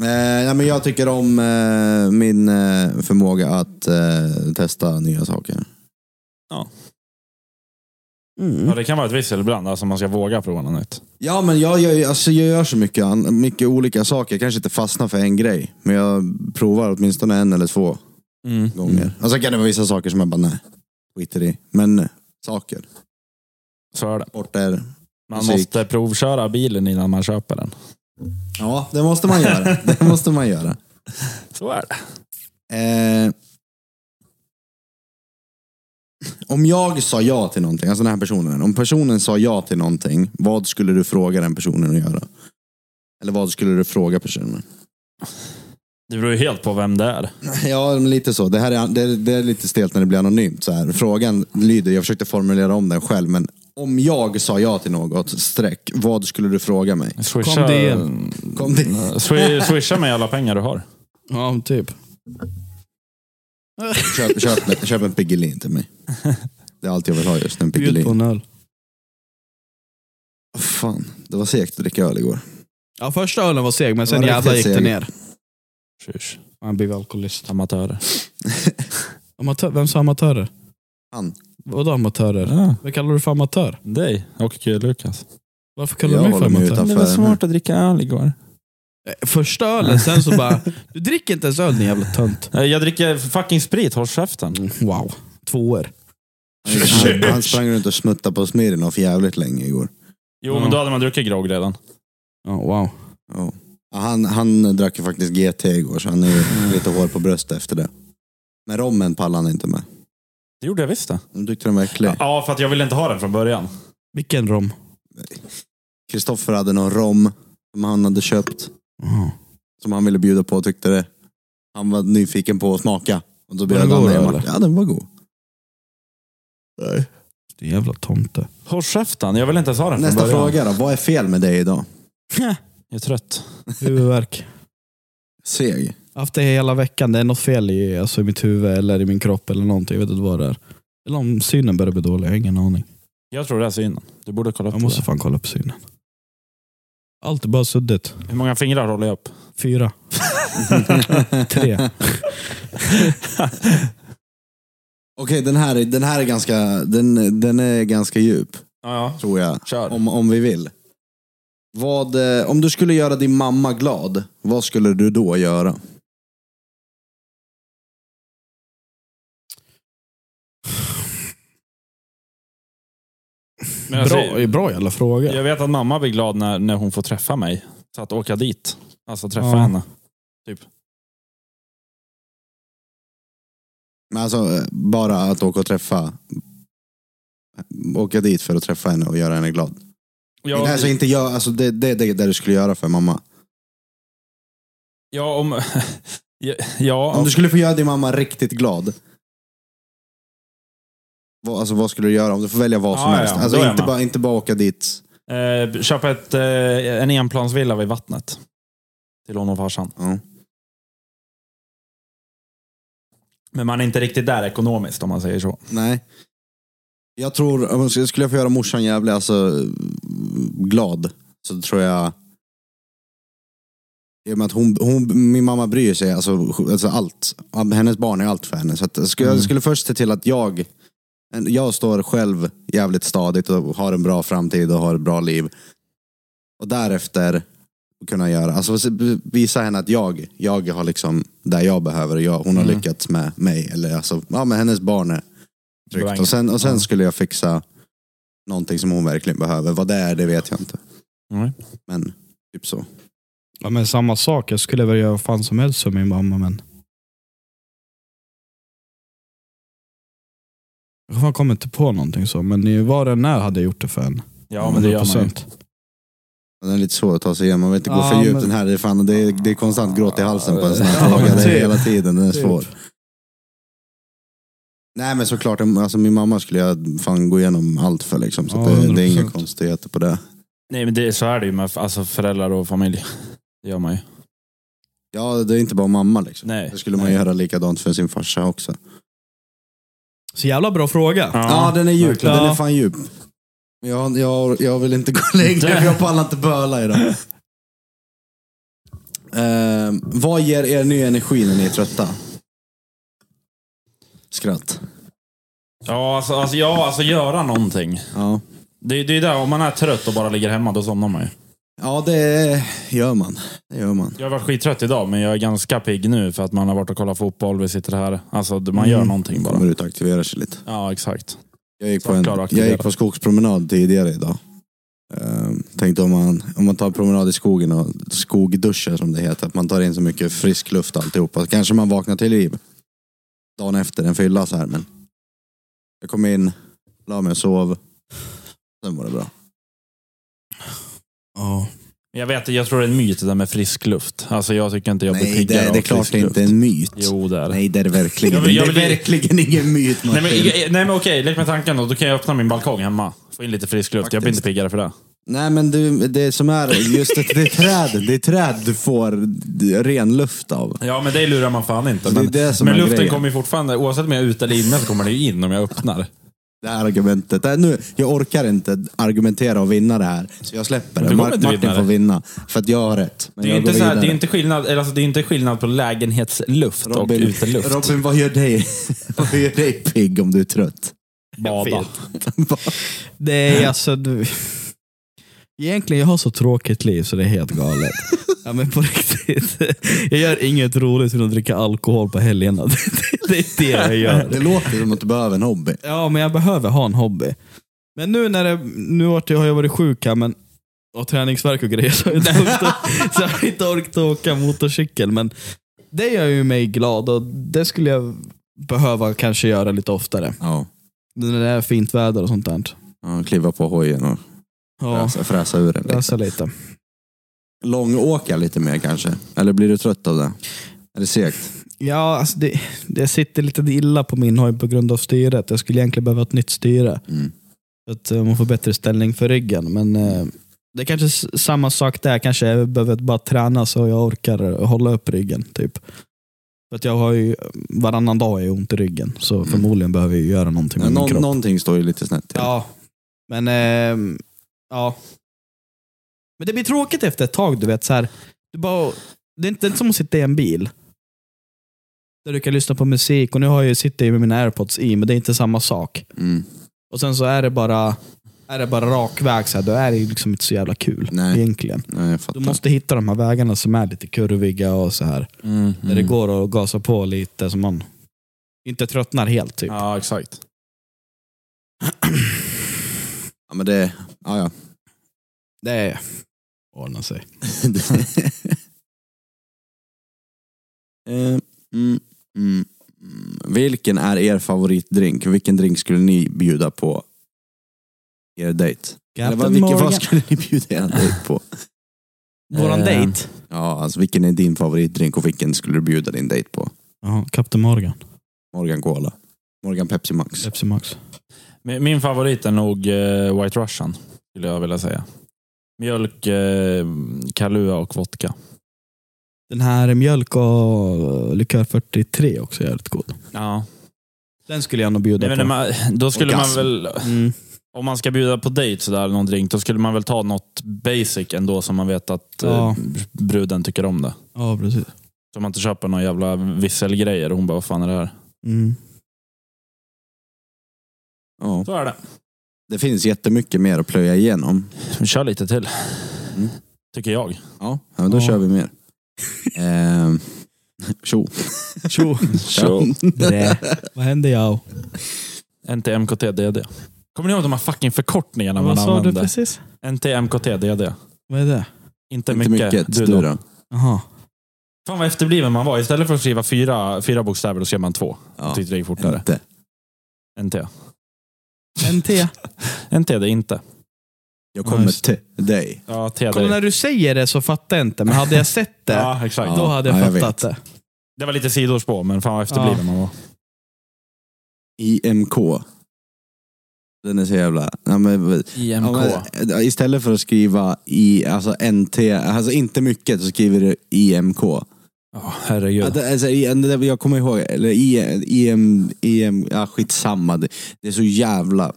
B: Eh, ja, men jag tycker om eh, min eh, förmåga att eh, testa nya saker.
C: Ja, det kan vara ett vissel ibland, alltså man ska våga prova något nytt.
B: Ja, men jag gör, ju- alltså, jag gör så mycket, an- mycket olika saker. Jag kanske inte fastnar för en grej, men jag provar åtminstone en eller två gånger.
C: Mm.
B: Och sen kan det vara vissa saker som jag bara, nej, skiter i. Men eh, saker.
C: Så är det.
B: Sport är...
C: Man
B: Musik.
C: måste provköra bilen innan man köper den.
B: Ja, det måste man göra. det måste man göra.
C: Så är det.
B: Eh, om jag sa ja till någonting, alltså den här personen. Om personen sa ja till någonting, vad skulle du fråga den personen att göra? Eller vad skulle du fråga personen?
C: Det beror ju helt på vem det är.
B: Ja, men lite så. Det, här är, det, är- det är lite stelt när det blir anonymt. Så här. Frågan lyder, jag försökte formulera om den själv, men om jag sa ja till något, streck, vad skulle du fråga mig?
C: Swisha,
A: Kom det igen.
B: Kom det.
C: Swi- Swisha mig alla pengar du har.
A: Ja, men typ.
B: Köp, köp, köp en Piggelin till mig. Det är allt jag vill ha just nu, en
A: Bjud på
B: Piggelin.
A: en öl.
B: Fan, det var segt att dricka öl igår.
A: Ja, första ölen var seg, men sen
B: Det var
A: jävlar gick
B: riktigt
A: det
B: seg.
A: ner.
C: Tjus.
A: Han blev alkoholist.
C: Amatörer.
A: Amatör, vem sa amatörer?
B: Han.
A: Vadå amatörer?
C: Ja,
A: Vad kallar du för amatör?
C: dig och Gud Lukas.
A: Varför kallar
B: Jag
A: du mig för
B: håller mig
A: amatör?
B: utanför. Det var smart
C: att dricka öl igår.
A: Eh, Första ölen, sen så bara, du dricker inte ens öl din jävla tönt. Mm,
C: Jag dricker fucking sprit, håll käften.
A: Wow. Två år.
B: Han, han sprang runt och smuttade på Smirnoff jävligt länge igår.
C: Jo,
A: Ja.
C: men då hade man druckit grogg redan.
A: Ja, wow.
B: Ja. Han, han drack ju faktiskt GT igår, så han är ju lite hår på bröstet efter det. Men rommen pallade han inte med.
C: Det gjorde jag visst det.
B: De tyckte den var äcklig.
C: Ja, för att jag ville inte ha den från början.
A: Vilken rom.
B: Kristoffer hade någon rom som han hade köpt,
A: Jaha.
B: som han ville bjuda på och tyckte det. Han var nyfiken på att smaka. Och då
A: den
B: bjöd han
A: god
B: mig
A: då,
B: och Martin. Ja, den var god.
A: Din jävla tomte.
C: Håll käften, jag ville inte ens ha den från
B: Nästa
C: början.
B: fråga då. Vad är fel med dig idag?
C: Jag är trött.
A: Huvudvärk.
B: Seg.
A: Haft det hela veckan. Det är något fel i, alltså, i mitt huvud eller i min kropp eller någonting. Jag vet inte vad det är. Eller om synen börjar bli dålig. Jag har ingen aning.
C: Jag tror det är synen. Du borde kolla upp
A: Jag måste
C: måste...
A: fan kolla på synen. Allt är bara suddigt.
C: Hur många fingrar håller jag upp?
A: Fyra. Tre.
B: Okej, den, här, är- den här är ganska, den, den är ganska djup,
C: Ja, ja.
B: tror jag.
C: Kör.
B: Om, om vi vill. Vad, eh, om du skulle göra din mamma glad, vad skulle du då göra?
C: Men alltså, jag, säger-
A: Bra, bra jävla fråga.
C: jag vet att mamma blir glad när, när hon får träffa mig. Så att åka dit. Alltså träffa
A: Ja.
C: henne.
B: Men alltså, eh, bara att åka och träffa. Åka dit för att träffa henne och göra henne glad.
C: Ja,
B: alltså, inte jag, alltså, det, det, det är det du skulle göra för mamma.
C: ja, om, ja, ja,
B: Om du skulle få göra din mamma riktigt glad. Vad, alltså, vad skulle du göra? Om du får välja vad som
C: Ja,
B: helst.
C: ja, då är
B: alltså,
C: jag
B: inte,
C: med.
B: bara, inte bara åka dit.
C: eh, köpa ett, eh, en enplansvilla vid vattnet. Till hon och farsan.
B: Ja.
C: Men man är inte riktigt där ekonomiskt om man säger så.
B: Nej. Jag tror, om jag skulle- skulle jag få göra morsan jävligt alltså, glad, så tror jag... I och med att hon, hon, min mamma bryr sig, alltså, alltså allt. Hennes barn är allt för henne. Så att, jag skulle, jag skulle först se till att jag, en- jag står själv jävligt stadigt och har en bra framtid och har ett bra liv. Och därefter kunna göra, alltså se- visa henne att jag, jag har liksom där jag behöver och jag, hon har lyckats med mig. Eller alltså, ja men hennes barn är
C: Bra.
B: tryggt. Och sen, och sen skulle jag fixa någonting som hon verkligen behöver. Vad det är, det vet jag inte.
C: Nej.
B: Men typ så.
A: Ja, men samma sak, jag skulle väl göra vad fan som helst som min mamma men... Jag fan kommer inte på någonting så, men i var den när hade jag gjort det för en.
B: Mm,
C: Ja, men det gör man ju.
A: 100%.
B: Den är lite svår att ta sig igenom. Man vill inte gå
A: Ja,
B: för djupt
A: men-
B: den här. Det är, fan, det är, det är konstant gråt i halsen på en sån här
A: Ja,
B: fråga. Det
A: typ.
B: är hela tiden. Den är svår.
A: Typ.
B: Nej men såklart, alltså, min mamma skulle jag fan gå igenom allt för. Liksom, så
A: Ja,
B: att det, det är inga
A: 100%.
B: konstigheter på det.
C: Nej, men det, så är det ju med alltså, föräldrar och familj. Det gör man ju.
B: Ja, det är inte bara mamma liksom.
C: Nej.
B: Det skulle man
C: Nej.
B: göra likadant för sin farsa också.
A: Så jävla bra fråga.
B: Ja, den är djup.
A: verkligen.
B: Den är
A: Ja.
B: fan djup. Jag, jag, jag vill inte gå längre, för jag pallar inte böla idag. Eh, vad ger er ny energi när ni är trötta? Skratt.
C: Ja, alltså, alltså, ja, alltså göra någonting.
B: Ja,
C: Det, det är där, om man är trött och bara ligger hemma, då somnar man ju.
B: ja det gör man. Det gör man.
C: Jag har varit skittrött idag, men jag är ganska pigg nu för att man har varit och kollat fotboll. Vi sitter här. Alltså, man
B: Mm.
C: gör någonting bara.
B: Kommer ut och aktiverar sig lite.
C: Ja, exakt.
B: Jag gick,
C: Så
B: på en,
C: klar och
B: jag
C: aktiverad.
B: gick på skogspromenad tidigare idag. Ehm, tänkte om man, om man tar en promenad i skogen och skogduschar som det heter, att man tar in så mycket frisk luft och alltihopa. Kanske man vaknar till liv dagen efter en fylla så här. Men jag kom in, la mig och sov. Sen var det bra.
A: Ja.
C: Jag vet, jag tror det är en myt det där med frisk luft. Alltså, jag tycker inte jag blir
B: Nej,
C: piggare
B: det, det är
C: av
B: klart
C: frisk
B: det är
C: luft.
B: inte är en myt.
C: Jo, det är det.
B: Nej, det är det verkligen.
C: Jag vill- jag
B: Det
C: vill-
B: är verkligen ingen myt.
C: Nej
B: Martin.
C: men, jag- nej men okej, lek med tanken då. Då kan jag öppna min balkong hemma. Få in lite frisk luft. Jag blir inte
B: Faktiskt.
C: piggare för det.
B: Nej men du, det som är just att det är träd, det är träd du får ren luft av.
C: Ja, men det lurar man fan inte.
B: Det är
C: Men,
B: det som
C: men
B: är
C: luften
B: grejen.
C: kommer ju fortfarande, oavsett om jag är ute eller inne, så kommer den ju in om jag öppnar.
B: det här argumentet. Nej, nu, jag orkar inte argumentera och vinna det här, så jag släpper
C: Du
B: det.
C: kommer
B: Mar-
C: inte
B: Martin
C: vinna det.
B: får vinna, för att jag har rätt. Men
C: Det är ju
B: jag
C: inte,
B: går
C: så här, det är
B: vidare.
C: ju inte, skillnad, eller alltså, det är inte skillnad på lägenhetsluft och uteluft.
B: Robin, vad gör dig, vad gör dig pigg om du är trött?
C: Bada.
B: typ.
A: Nej, alltså du... Egentligen, jag har så tråkigt liv så det är helt galet. Ja men på riktigt. Jag gör inget roligt utan att dricka alkohol på helgerna. Det- Det är det jag gör.
B: Det låter som att du behöver en hobby.
A: Ja, men jag behöver ha en hobby. Men nu när det, nu vart jag- har jag varit sjuk här, men och träningsvärk och grejer så har jag inte orkat, så jag har inte orkat åka motorcykel. Men det gör ju mig glad och det skulle jag behöva kanske göra lite oftare.
B: Ja.
A: När det är fint väder och sånt där.
B: Ja, kliva på hojen och
A: Ja,
B: fräsa, fräsa ur den
C: liksom.
B: lite.
A: läsa lite.
B: Långåka lite mer kanske? Eller blir du trött av det? Är det segt?
A: Ja, alltså det, det sitter lite illa på min hoj på grund av styret. Jag skulle egentligen behöva ett nytt styre.
B: Mm.
A: Så att eh, man får bättre ställning för ryggen. Men eh, det är kanske s- samma sak där. Kanske jag behöver bara träna så jag orkar hålla upp ryggen. Typ. För att jag har ju, varannan dag har jag ont i ryggen. Så förmodligen behöver jag ju göra någonting med
B: Nå-
A: min kropp.
B: någonting står ju lite snett till.
A: Ja, men ehm, ja. Men det blir tråkigt efter ett tag, du vet. Så här, du bara det är inte inte som att sitta i en bil. Där du kan lyssna på musik och nu har jag ju sitter jag med mina airpods i, men det är inte samma sak.
B: Mm.
A: Och sen så är det bara, är det bara rak väg, så här, då är det ju liksom inte så jävla kul
B: Nej.
A: egentligen.
B: Nej,
A: Du
B: jag fattar.
A: måste hitta de här vägarna som är lite kurviga och så här.
C: Mm,
A: Där det går att gasa på lite så man inte tröttnar helt. Typ.
C: Ja, exakt.
B: Ja, men det... Ja, ja.
A: Det ordnar sig.
B: Eh, mm, mm, mm. Vilken är er favoritdrink? Vilken drink skulle ni bjuda på er dejt? Eller vad, vilken, vad skulle ni bjuda er dejt på?
A: Våran
C: Eh,
A: dejt.
B: Ja, alltså vilken är din favoritdrink och vilken skulle du bjuda din dejt på?
A: Ja, Captain Morgan.
B: Morgan Cola. Morgan Pepsi Max.
A: Pepsi Max.
C: Min min favorit är nog eh, White Russian, skulle jag vilja säga. Mjölk, eh, Kahlua och vodka.
A: Den här mjölk och eh, likör 43 också är jävligt god.
C: Ja.
A: Den skulle jag nog bjuda
C: Nej,
A: på.
C: men man, då skulle man
B: gasm.
C: väl,
A: Mm.
C: om man ska bjuda på dejt sådär, någon drink, då skulle man väl ta något basic ändå som man vet att
A: Ja.
C: eh, bruden tycker om det.
A: Ja, precis.
C: Så man inte köper någon jävla visselgrejer och hon bara, vad fan är det här?
A: Mm.
B: Ja.
C: Så är det.
B: Det finns jättemycket mer att plöja igenom.
C: Vi kör lite till.
B: Mm.
C: Tycker jag.
B: Ja, ja men då
A: Ja.
B: kör vi mer. Eh, Tjo.
A: Tjo! Brä. Vad hände jag?
C: NTMKTDD. Kommer ni ihåg de här fucking förkortningarna man
A: Vad sa du
C: använde?
A: precis?
C: NTMKTDD.
A: Vad är det?
C: Inte,
B: Inte
C: mycket.
B: mycket.
C: Du,
B: Du
C: då?
B: då?
A: Jaha.
C: Fan vad efterbliven man var. Istället för att skriva fyra, fyra bokstäver, då skrev man två.
B: Ja. Mm.
C: Tyckte det gick fortare.
B: Inte.
C: NT.
A: NT.
C: NT det är inte.
B: Jag kommer
A: Nice.
B: till dig.
C: Ja, T det
A: Kolla
C: är...
A: när du säger det så fattar jag inte, men hade jag sett det,
C: Ja, exakt.
A: då hade jag
B: Ja, jag
A: fattat det.
C: Det var lite sidospår, men fan vad efterbliven man var.
B: IMK. Den är så jävla... Ja, men,
C: IMK.
B: Ja, men, istället för att skriva i, alltså NT, alltså inte mycket, så skriver du IMK.
C: Ja,
B: Ja.
C: herregud.
B: det- Alltså, i- det- jag kommer ihåg, eller I- IM, IM, ja skitsamma. Det, det är så jävla...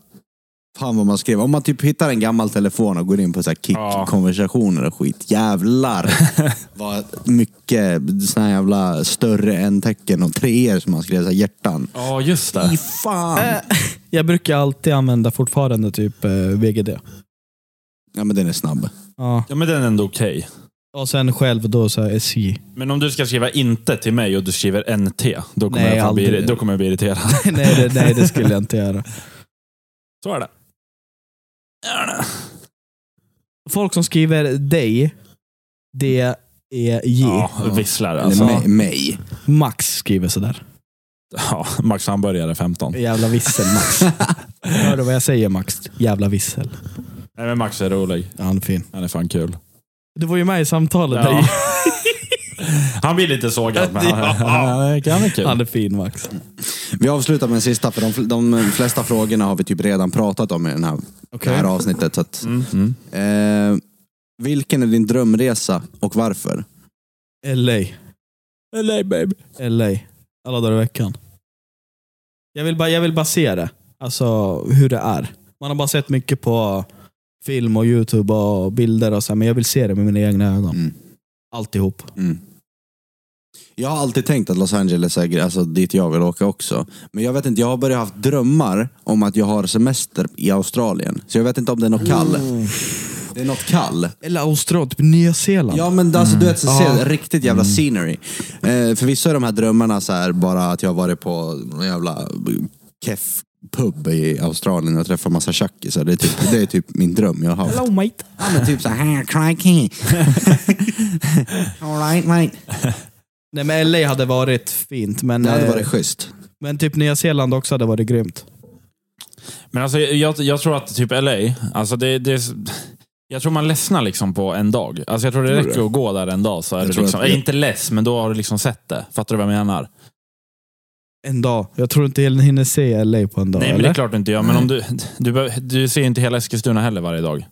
B: Fan vad man skrev. Om man typ hittar en gammal telefon och går in på så här
C: Ja.
B: kick-konversationer och skit. Jävlar vad mycket såna här jävla större än tecken och treor som man skrev, så här hjärtan. "Äh."
C: Ja, just
B: Fy
C: det.
B: fan!
A: Jag brukar alltid använda fortfarande typ eh, VGD.
B: Ja men den är snabb.
A: Ja.
C: Ja, men den är ändå okej.
A: Och sen själv då så här SJ.
C: Men om du ska skriva inte till mig och du skriver NT, då kommer,
A: Nej,
C: jag, fan bli,
A: aldrig.
C: då kommer jag bli irriterad.
A: nej, det, nej, det skulle jag inte göra.
C: Så är det.
A: Folk som skriver dig, D-E-J.
C: Ja, visslar
B: Eller
C: alltså.
A: Nej.
B: mig. mig.
A: Max skriver sådär.
C: Ja, Max hamburgare 15.
A: Jävla vissel Max. Hör du vad jag säger Max? Jävla vissel.
C: Nej, men Max är rolig.
A: Ja, han är fin.
C: Han är fan kul.
A: Du var ju med i samtalet.
C: Ja.
A: där.
C: Han blir lite sågad, men han, han, är- han är kul.
A: Han är fin Max.
B: Vi avslutar med en sista, för de, fl- de flesta frågorna har vi typ redan pratat om i den här, det här avsnittet. Så att,
C: Mm. Mm.
B: eh, vilken är din drömresa och varför?
A: LA.
C: LA babe.
A: LA. Alla dagar i veckan. Jag vill bara, jag vill bara se det. Alltså hur det är. Man har bara sett mycket på film och YouTube och bilder och så, här, men jag vill se det med mina egna ögon.
B: Mm.
A: Alltihop.
B: Mm. Jag har alltid tänkt att Los Angeles är gre- alltså, dit jag vill åka också. Men jag vet inte, jag har börjat haft drömmar om att jag har semester i Australien. Så jag vet inte om det är något kall. Det är något kall.
A: Eller Australien, typ Nya Zeeland.
B: Ja men alltså du vet, så ser
A: Ja.
B: jag riktigt jävla scenery. Eh, förvisso är de här drömmarna så här bara att jag har varit på någon jävla keff pub i Australien och träffat massa tjackisar. Det, är typ, det är typ min dröm jag har haft.
A: Hello mate.
B: Ja men typ såhär, crikey. Alright mate.
A: Nej men LA hade varit fint, men,
B: Det hade
A: eh,
B: varit schysst.
A: men typ Nya Zeeland också hade varit grymt.
C: Men alltså, jag, jag tror att typ LA, alltså det, det, jag tror man ledsnar liksom på en dag. Alltså jag tror det
B: Tror du
C: räcker att gå där en dag så är
B: Jag
C: du
B: tror
C: liksom,
B: att-
C: inte less, men då har du liksom sett det. Fattar du vad jag menar?
A: En dag. Jag tror inte jag hinner se LA på en dag.
C: Nej, men det är
A: eller?
C: klart du inte gör. Men om du, du, behöver- du ser ju inte hela Eskilstuna heller varje dag.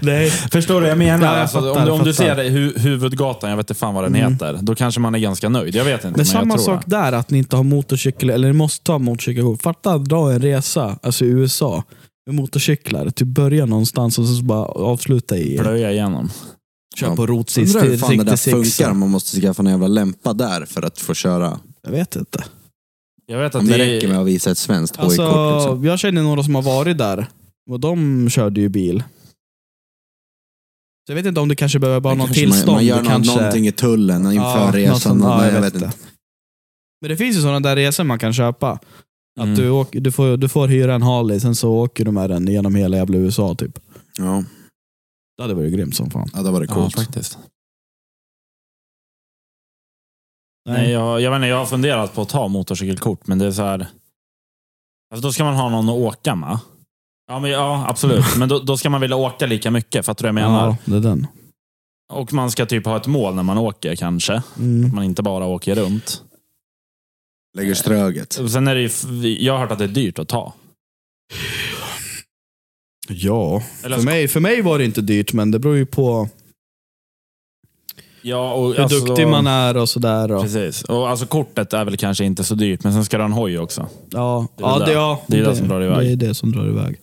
A: Nej.
C: Förstår du vad jag menar?
A: Ja, jag
C: alltså,
A: fattar,
C: om du, om du
A: fattar.
C: ser det, hu, huvudgatan, jag vet inte fan vad den
A: Mm.
C: heter, då kanske man är ganska nöjd. Jag vet inte, men,
A: Men
C: jag
A: samma
C: tror
A: sak
C: det.
A: där, att ni inte har motorcykel, eller ni måste ha motorcykelkort. Fatta att dra en resa, alltså i USA, med motorcyklar. Typ börja någonstans och sen så bara avsluta i...
C: Plöja igenom.
A: Kör
B: Ja.
A: på rotsis
B: Undrar hur
A: till
B: fan det där
A: riktigt sex.
B: funkar, om man måste skaffa en jävla lämpa där för att få köra.
A: Jag vet inte.
C: Jag vet att
B: Om det
C: det,
B: räcker med att visa ett svenskt
A: Alltså,
B: hojkort. Liksom.
A: Jag känner några som har varit där och de körde ju bil. Så jag vet inte om det kanske behöver bara
B: Det
A: något
B: kanske
A: tillstånd.
B: Man, man gör
A: det
B: nå-
A: kanske...
B: någonting i tullen inför
A: Ja, något
B: resan.
A: sånt. Ja,
B: Nej, jag vet inte.
A: Men det finns ju sådana där resor man kan köpa. Att
C: Mm.
A: du, åker, du, får, du får hyra en Harley, sen så åker du med den genom hela jävla USA typ.
B: Ja,
A: Det hade varit grymt som fan.
B: ja, det var det
C: Ja,
B: coolt.
C: faktiskt. Nej, jag, jag, vet inte, jag har funderat på att ta motorcykelkort, men det är så här... Alltså då ska man ha någon att åka med. Ja, men, ja absolut. Men då, då ska man vilja åka lika mycket, fattar du vad jag menar?
A: Ja, det är den.
C: Och man ska typ ha ett mål när man åker kanske.
A: Mm.
C: Man inte bara åker runt.
B: Lägger ströget.
C: Och Sen är det ju, f- jag har hört att det är dyrt att ta.
A: Ja,
C: Eller, alltså,
A: för mig, för mig var det inte dyrt, men det beror ju på
C: ja, och, alltså-
A: hur duktig man är och sådär. Och,
C: Precis. Och alltså kortet är väl kanske inte så dyrt, men sen ska du ha en hoj också.
A: ja,
C: Det är
A: ja,
C: det.
A: det, ja,
C: Det är det som drar iväg.
A: Det är det som drar iväg.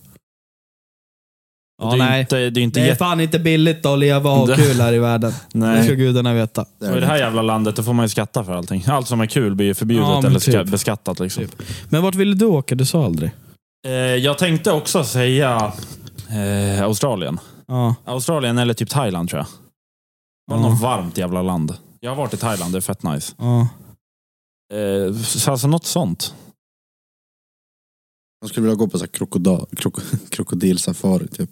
A: Ja,
C: det är ju
A: nej.
C: inte, det är ju inte
A: Det är
C: jätte...
A: fan inte billigt att leva och ha
C: Det-
A: kul här i världen. Det ska
C: Nej.
A: gudarna veta.
C: Och
B: Det
C: I
B: är
C: det
B: det.
C: här jävla landet då får man ju skatta för allting. Allt som är kul blir ju förbjudet
A: Ja, men
C: eller ska,
A: typ.
C: beskattat. Liksom.
A: Typ. Men vart ville du åka? Du sa aldrig.
C: Eh, jag tänkte också säga eh, Australien.
A: Ja.
C: Australien eller typ Thailand tror jag. Bara
A: Ja.
C: något varmt jävla land. Jag har varit i Thailand, det är fett nice.
A: ja.
C: Eh, så alltså något sånt.
B: Man skulle vilja gå på så här krokoda, krok, krokodilsafari typ.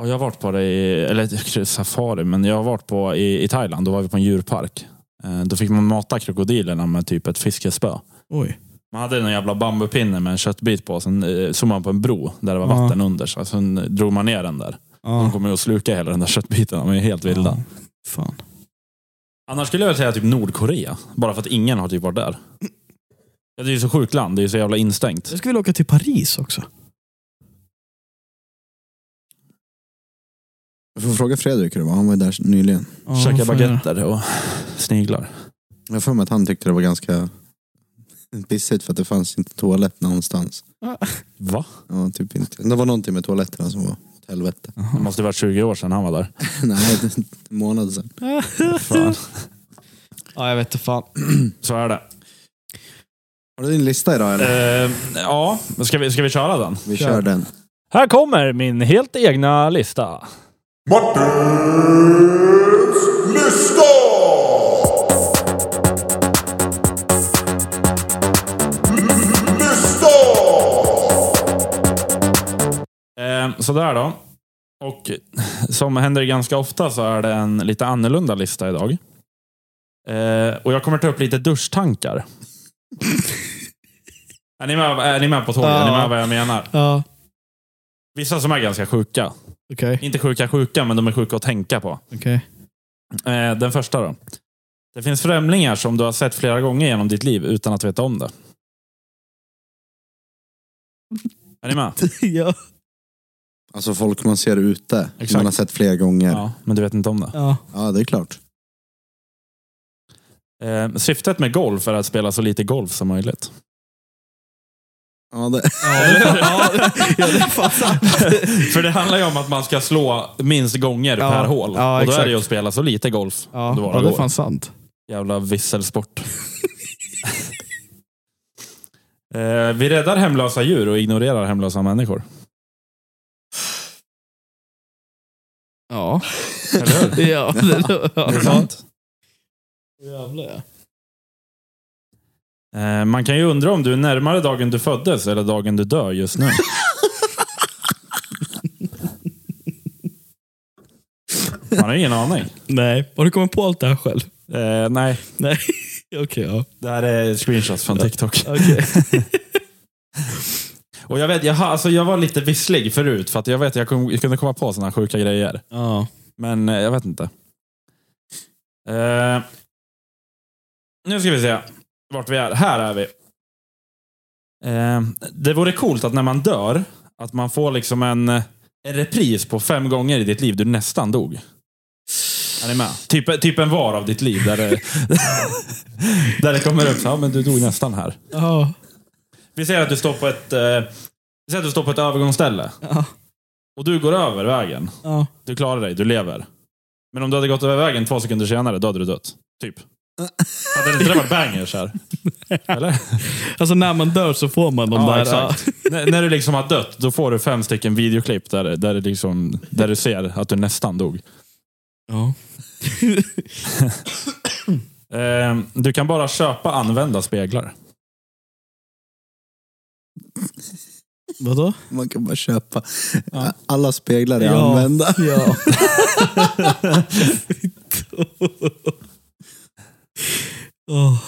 C: Ja, jag har varit på det i, eller safari, men jag har varit på i, i Thailand. Då var vi på en djurpark. Eh, då fick man mata krokodilerna med typ ett fiskespö.
A: Oj.
C: Man hade en jävla bambupinne med en köttbit på. Sen eh, såg man på en bro där det var
A: Ja.
C: vatten under. Så sen drog man ner den där. De
A: Ja.
C: kommer ju att sluka hela den där köttbiten. De är helt vilda.
A: Ja. Fan.
C: Annars skulle jag vilja säga typ Nordkorea. Bara för att ingen har typ varit där. Ja, Det är ju så sjukt land. Det är ju så jävla instängt.
A: Jag skulle vilja åka till Paris också.
B: Jag får fråga Fredrik hur det var. Han var ju där nyligen.
A: Ja,
C: Käka
A: vad fan är det?
C: baguetter och sniglar.
B: Jag har för mig att han tyckte det var ganska pissigt för att det fanns inte toalett någonstans.
C: Va?
B: Ja, typ inte. Det var någonting med toaletterna som var åt helvete.
C: Det måste ha varit 20 år sedan han var där.
B: Nej, det är en månad sedan.
C: Fan.
A: Ja, jag vet inte fan.
C: Så är det.
B: Har du din lista idag eller?
C: Eh, ja, men ska vi, ska vi köra den?
B: Vi kör den.
C: Här kommer min helt egna lista. Eh, sådär då. Och som händer ganska ofta så är det en lite annorlunda lista idag. Eh, och jag kommer ta upp lite duschtankar. är, ni med, är ni med på tåget? Är ni med vad jag menar?
A: Ja,
C: Vissa som är ganska sjuka.
A: okej.
C: Inte sjuka sjuka, men de är sjuka att tänka på.
A: okej.
C: Eh, den första då. Det finns främlingar som du har sett flera gånger genom ditt liv utan att veta om det. Är ni med?
A: ja.
B: Alltså folk man ser ute.
C: Exakt.
B: Som man har sett flera gånger. Ja,
C: Ja, men du vet inte om det.
A: ja.
B: det är klart.
C: Eh, syftet med golf är att spela så lite golf som möjligt.
B: Ja, det...
A: ja, det är fan sant.
C: För det handlar ju om att man ska slå minst gånger
A: Ja,
C: per hål.
A: ja,
C: och då är
A: exakt.
C: det ju att spela så lite golf
A: Ja,
C: det
A: ja,
C: bara
A: det är
C: går.
A: fan sant.
C: Jävla visselsport. eh, vi räddar hemlösa djur och ignorerar hemlösa människor.
A: Ja.
C: Eller hur?
A: ja, det
C: Är det
A: ja.
C: sant?
A: Jävlar
C: Eh, man kan ju undra om du är närmare dagen du föddes eller dagen du dör just nu. Man har ingen aning.
A: Nej, har du kommit på allt det här själv?
C: Eh, nej,
A: Nej. Okej, ja.
C: det här är screenshots från TikTok.
A: Okej.
C: Och jag, vet, jag, har- alltså, jag var lite visslig förut för att jag vet att jag, kom, jag kunde komma på sådana sjuka grejer.
A: Ja.
C: Men eh, jag vet inte. Eh, nu ska vi se vart vi är. Här är vi. Eh, det vore coolt att när man dör, att man får liksom en, eh, en repris på fem gånger i ditt liv du nästan dog. Är ni med? Typ, typ en var av ditt liv där det, där det kommer upp så här, "Ja, men du dog nästan här.
A: Ja.
C: Vi säger att du står på ett, eh, vi säger att du står på ett övergångsställe
A: Ja.
C: och du går över vägen.
A: Ja.
C: Du klarar dig, du lever. Men om du hade gått över vägen två sekunder senare, då hade du dött. Typ. Hade det inte varit bangers här? Eller?
A: Alltså när man dör så får man de
C: Ja,
A: där...
C: exakt. N- när du liksom har dött, då får du fem stycken videoklipp där, där, det liksom, där du ser att du nästan dog.
A: Ja.
C: Ehm, du kan bara köpa använda speglar.
A: Vadå?
B: Man kan bara köpa. Alla speglar är
A: Ja.
B: använda.
A: Ja. Åh.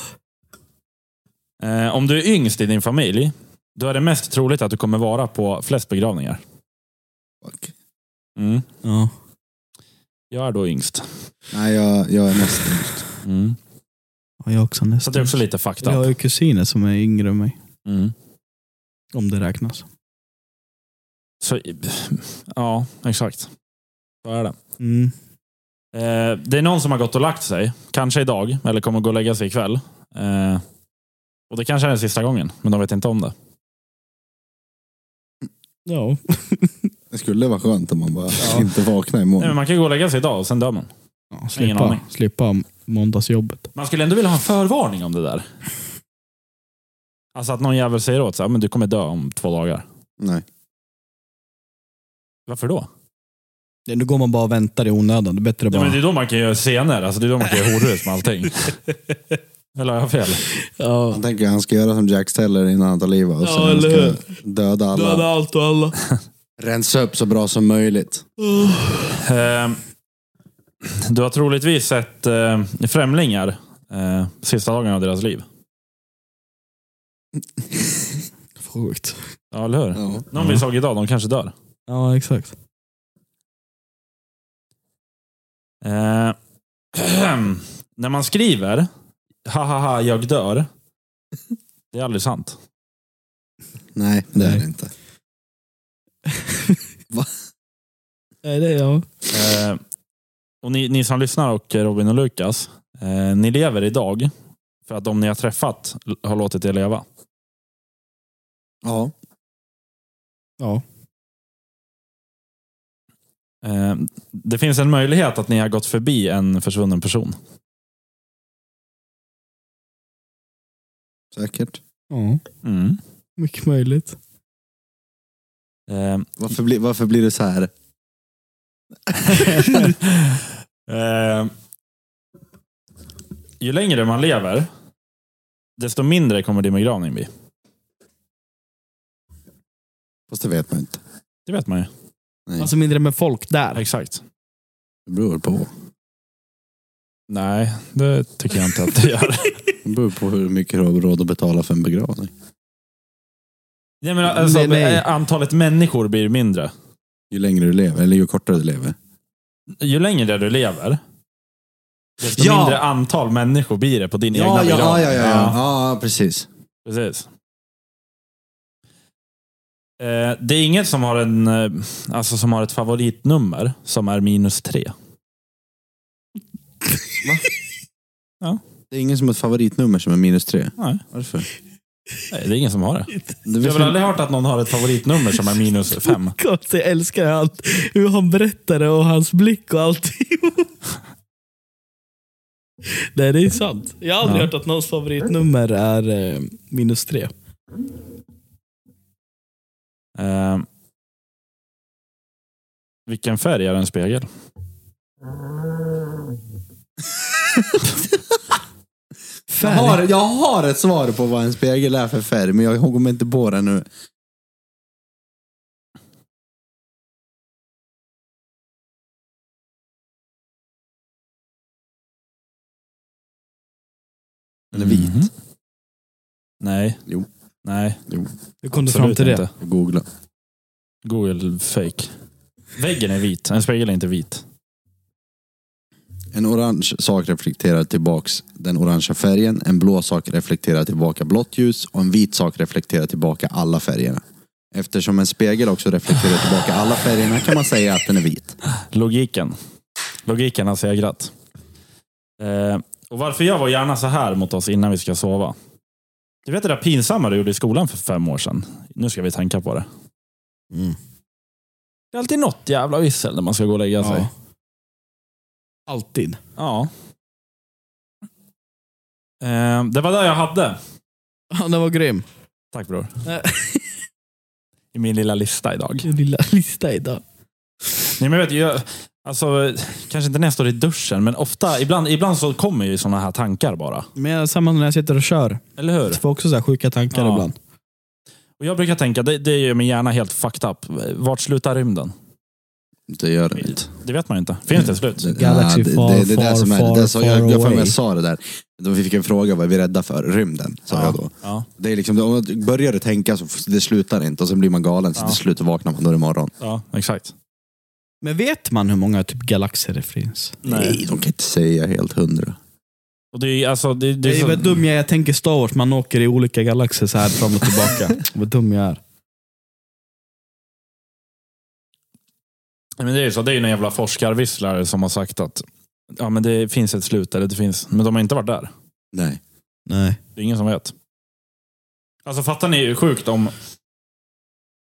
C: Ehm, om du är yngst i din familj, då är det mest troligt att du kommer vara på flest begravningar.
B: Fuck.
C: Mm.
A: Ja.
C: Jag är då yngst.
B: Nej, jag, jag är näst.
C: Mm.
A: Och jag också
C: Så
A: nästan.
C: det är också lite fucked
A: jag har
C: up.
A: ju kusiner som är yngre än mig.
C: Mm.
A: Om det räknas.
C: Så, ja, exakt. Så är det.
A: Mm.
C: Eh, det är någon som har gått och lagt sig. Kanske idag, eller kommer gå och lägga sig ikväll. Eh, och det kanske är den sista gången, men de vet inte om det.
A: Ja.
B: Det skulle vara skönt om man bara
C: Ja.
B: inte vaknar
C: Nej, men
B: imorgon.
C: man kan gå och lägga sig idag och sen dör man.
A: ja
C: Ingen
A: slippa,
C: aning.
A: slippa måndagsjobbet.
C: Man skulle ändå vilja ha en förvarning om det där. Alltså att någon jävel säger åt så här, men du kommer dö om två dagar.
B: Nej.
C: Varför då?
A: Nej, Då går man bara och väntar i onödan. Det är bättre
C: Ja,
A: bara...
C: men det är då man kan göra scener. Alltså, det är då man kan göra horhus med allting. Eller har jag fel?
A: ja.
B: Han tänker att han ska göra som Jack Steller innan han tar livet och
A: Ja,
B: sen han
A: eller
B: ska döda alla.
A: Döda allt och alla.
B: Rensa upp så bra som möjligt.
C: Ehm, du har troligtvis sett eh, främlingar eh, sista dagarna av deras liv.
A: Sjukt.
C: Ja, eller hur?
B: Ja.
C: Någon vi såg idag, de kanske dör.
A: Ja, exakt.
C: Eh, Ehm, när man skriver hahaha, jag dör. Det är aldrig sant.
B: Nej, det är
A: Nej.
B: det inte.
A: Nej, det är jag.
C: Eh, och ni, ni som lyssnar och Robin och Lukas, eh, ni lever idag för att de ni har träffat l- har låtit er leva.
B: Ja.
A: Ja.
C: Eh, det finns en möjlighet att ni har gått förbi en försvunnen person.
B: Säkert.
A: ja.
C: Mm.
A: Mycket möjligt.
C: Eh,
B: Varför, blir varför blir det så här?
C: eh, ju längre man lever, desto mindre kommer din begravning bli.
B: Fast det vet man inte.
C: Det vet man ju.
B: Nej.
A: Alltså mindre med folk där.
C: Exakt.
B: det beror på.
C: Nej, det tycker jag inte att det gör.
B: Det beror på hur mycket du har råd att betala för en begravning.
C: Nej, men alltså,
A: Nej, nej.
C: Antalet människor blir mindre.
B: Ju längre du lever, eller ju kortare du lever.
C: Ju längre du lever, desto
B: Ja.
C: mindre antal människor blir det på din egna
B: ja, ja,
C: begravning.
B: ja, ja, ja. ja, precis.
C: Precis. Eh, det är inget som har, en, eh, alltså, som har ett favoritnummer som är minus tre.
B: Det är ingen som har ett favoritnummer som är minus tre.
C: Nej.
B: Varför?
C: Nej, det är ingen som har det.
B: Det
C: Jag har väl aldrig hört att någon har ett favoritnummer som är minus fem.
A: Gott, jag älskar allt. hur han berättar det och hans blick och alltihop. Nej, det är sant. Jag har aldrig
C: Ja.
A: hört att någons favoritnummer är eh, minus tre.
C: Eh, vilken färg är en spegel?
B: jag, har, jag har ett svar på vad en spegel är för färg, men jag kommer inte på det nu. Den är vit.
C: Mhm. Nej.
B: Jo.
C: Nej.
A: Hur kom du
C: absolut
A: fram till det?
C: inte.
B: Googla.
C: Google fake. Väggen är vit. En spegel är inte vit.
B: En orange sak reflekterar tillbaks den orangea färgen, en blå sak reflekterar tillbaka blått ljus och en vit sak reflekterar tillbaka alla färgerna. Eftersom en spegel också reflekterar tillbaka alla färgerna kan man säga att den är vit.
C: Logiken. Logiken har segrat. Eh, och varför jag var gärna så här mot oss innan vi ska sova. Du vet det där pinsamma du gjorde i skolan för fem år sedan. Nu ska vi tänka på det. Det är alltid något jävla yssel när man ska gå och lägga sig.
A: Ja. Alltid.
C: Ja. Ehm, det var det jag hade.
A: Ja, den var grym.
C: Tack bror.
A: Nej.
C: I min lilla lista idag.
A: Din lilla lista idag.
C: Nej, men jag vet, jag, alltså, kanske inte när jag står i duschen, men ofta, ibland, ibland så kommer ju sådana här tankar bara.
A: Men jag- samma när jag sitter och kör.
C: Eller hur?
A: Jag får också så här sjuka tankar
C: Ja.
A: ibland.
C: Och jag brukar tänka, det, det gör min hjärna helt fucked up. Vart slutar rymden?
B: Det gör det inte.
C: Det vet man ju inte. Finns det slut?
A: Galaxy
B: det,
A: far,
B: det, det är
A: far,
B: det som är
A: far,
B: det. det. Så, jag, jag, för mig
A: away.
B: jag sa det där. Då fick jag en fråga, vad är vi rädda för? Rymden, sa jag då.
C: Ja.
B: Det är liksom, om man börjar du tänka så f- det slutar inte och sen blir man galen så
C: Ja.
B: till slut vaknar man då är det morgon.
C: Ja, exakt.
A: Men vet man hur många typ galaxer det finns?
B: Nej, de kan inte säga helt hundra.
C: Och det är ju- alltså, det, det
A: Det
C: är
A: är
C: så,
A: vad dum jag är. Jag tänker Star Wars, man åker i olika galaxer så här fram och tillbaka. vad dum jag är.
C: Nej, men det är ju så, det är ju en jävla forskarvisslare som har sagt att ja, men det finns ett slut, eller det finns, men de har inte varit där.
B: Nej.
A: Nej.
C: Det är ingen som vet. Alltså fattar ni hur sjukt om,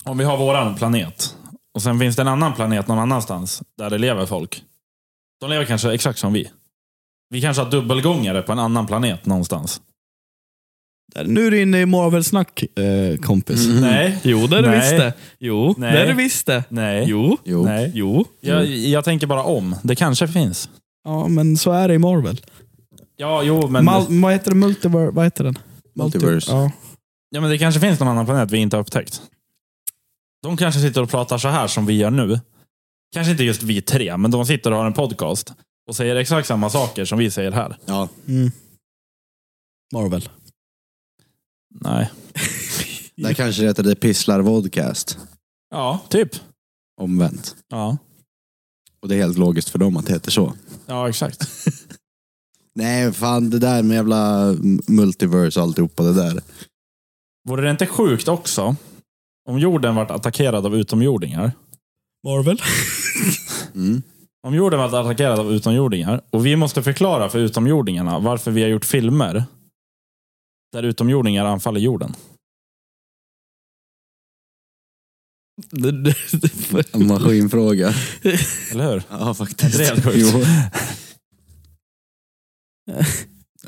C: om vi har våran planet och sen finns det en annan planet någon annanstans där det lever folk. De lever kanske exakt som vi. Vi kanske har dubbelgångare på en annan planet någonstans.
A: Där- Nu är du inne i Marvel-snack, eh, kompis.
C: Nej.
A: Jo, det är du
C: Nej.
A: visst det. Jo,
C: Nej.
A: det är du visst det.
C: Nej.
A: Jo.
B: Jo.
C: Nej.
A: Jo.
C: Jag, jag tänker bara om. Det kanske finns.
A: Ja, men så är det i Marvel.
C: Ja, jo, men,
A: Mal, vad heter det? Multiver, vad heter den? Multi-
B: Multiverse.
A: Ja.
C: ja, men det kanske finns någon annan planet vi inte har upptäckt. De kanske sitter och pratar så här som vi gör nu. Kanske inte just vi tre, men de sitter och har en podcast och säger exakt samma saker som vi säger här.
B: Ja.
A: Mm. Marvel.
C: Nej.
B: Där kanske det heter det pisslar vodcast.
C: Ja, typ.
B: Omvänt.
C: Ja,
B: Och det är helt logiskt för dem att det heter så.
C: ja exakt.
B: Nej, fan det där med jävla m- multiverse och alltihopa det där.
C: Vore det inte sjukt också om jorden vart attackerad av utomjordingar?
A: Marvel?
B: Mm.
C: Om jorden vart attackerad av utomjordingar och vi måste förklara för utomjordingarna varför vi har gjort filmer där utomjordingar anfaller jorden.
B: En maskinfråga.
C: Eller hur?
B: Ja, faktiskt.
C: Det är helt sjukt.
B: Jo.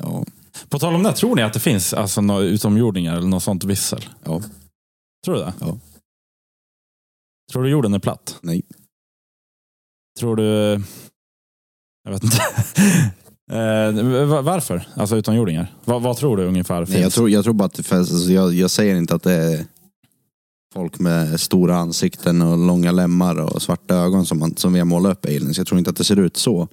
B: Ja.
C: På tal om det, tror ni att det finns alltså, några utomjordingar eller något sånt vissel?
B: Ja.
C: Tror du det?
B: Ja.
C: Tror du jorden är platt?
B: Nej.
C: Tror du... Jag vet inte. eh, va- varför? Alltså utomjordingar. Va, vad tror du ungefär finns?
B: Nej, jag, tror, jag tror bara att det finns, alltså, jag, jag säger inte att det är folk med stora ansikten och långa lemmar och svarta ögon som, man, som vi har målat upp aliens. Jag tror inte att det ser ut så.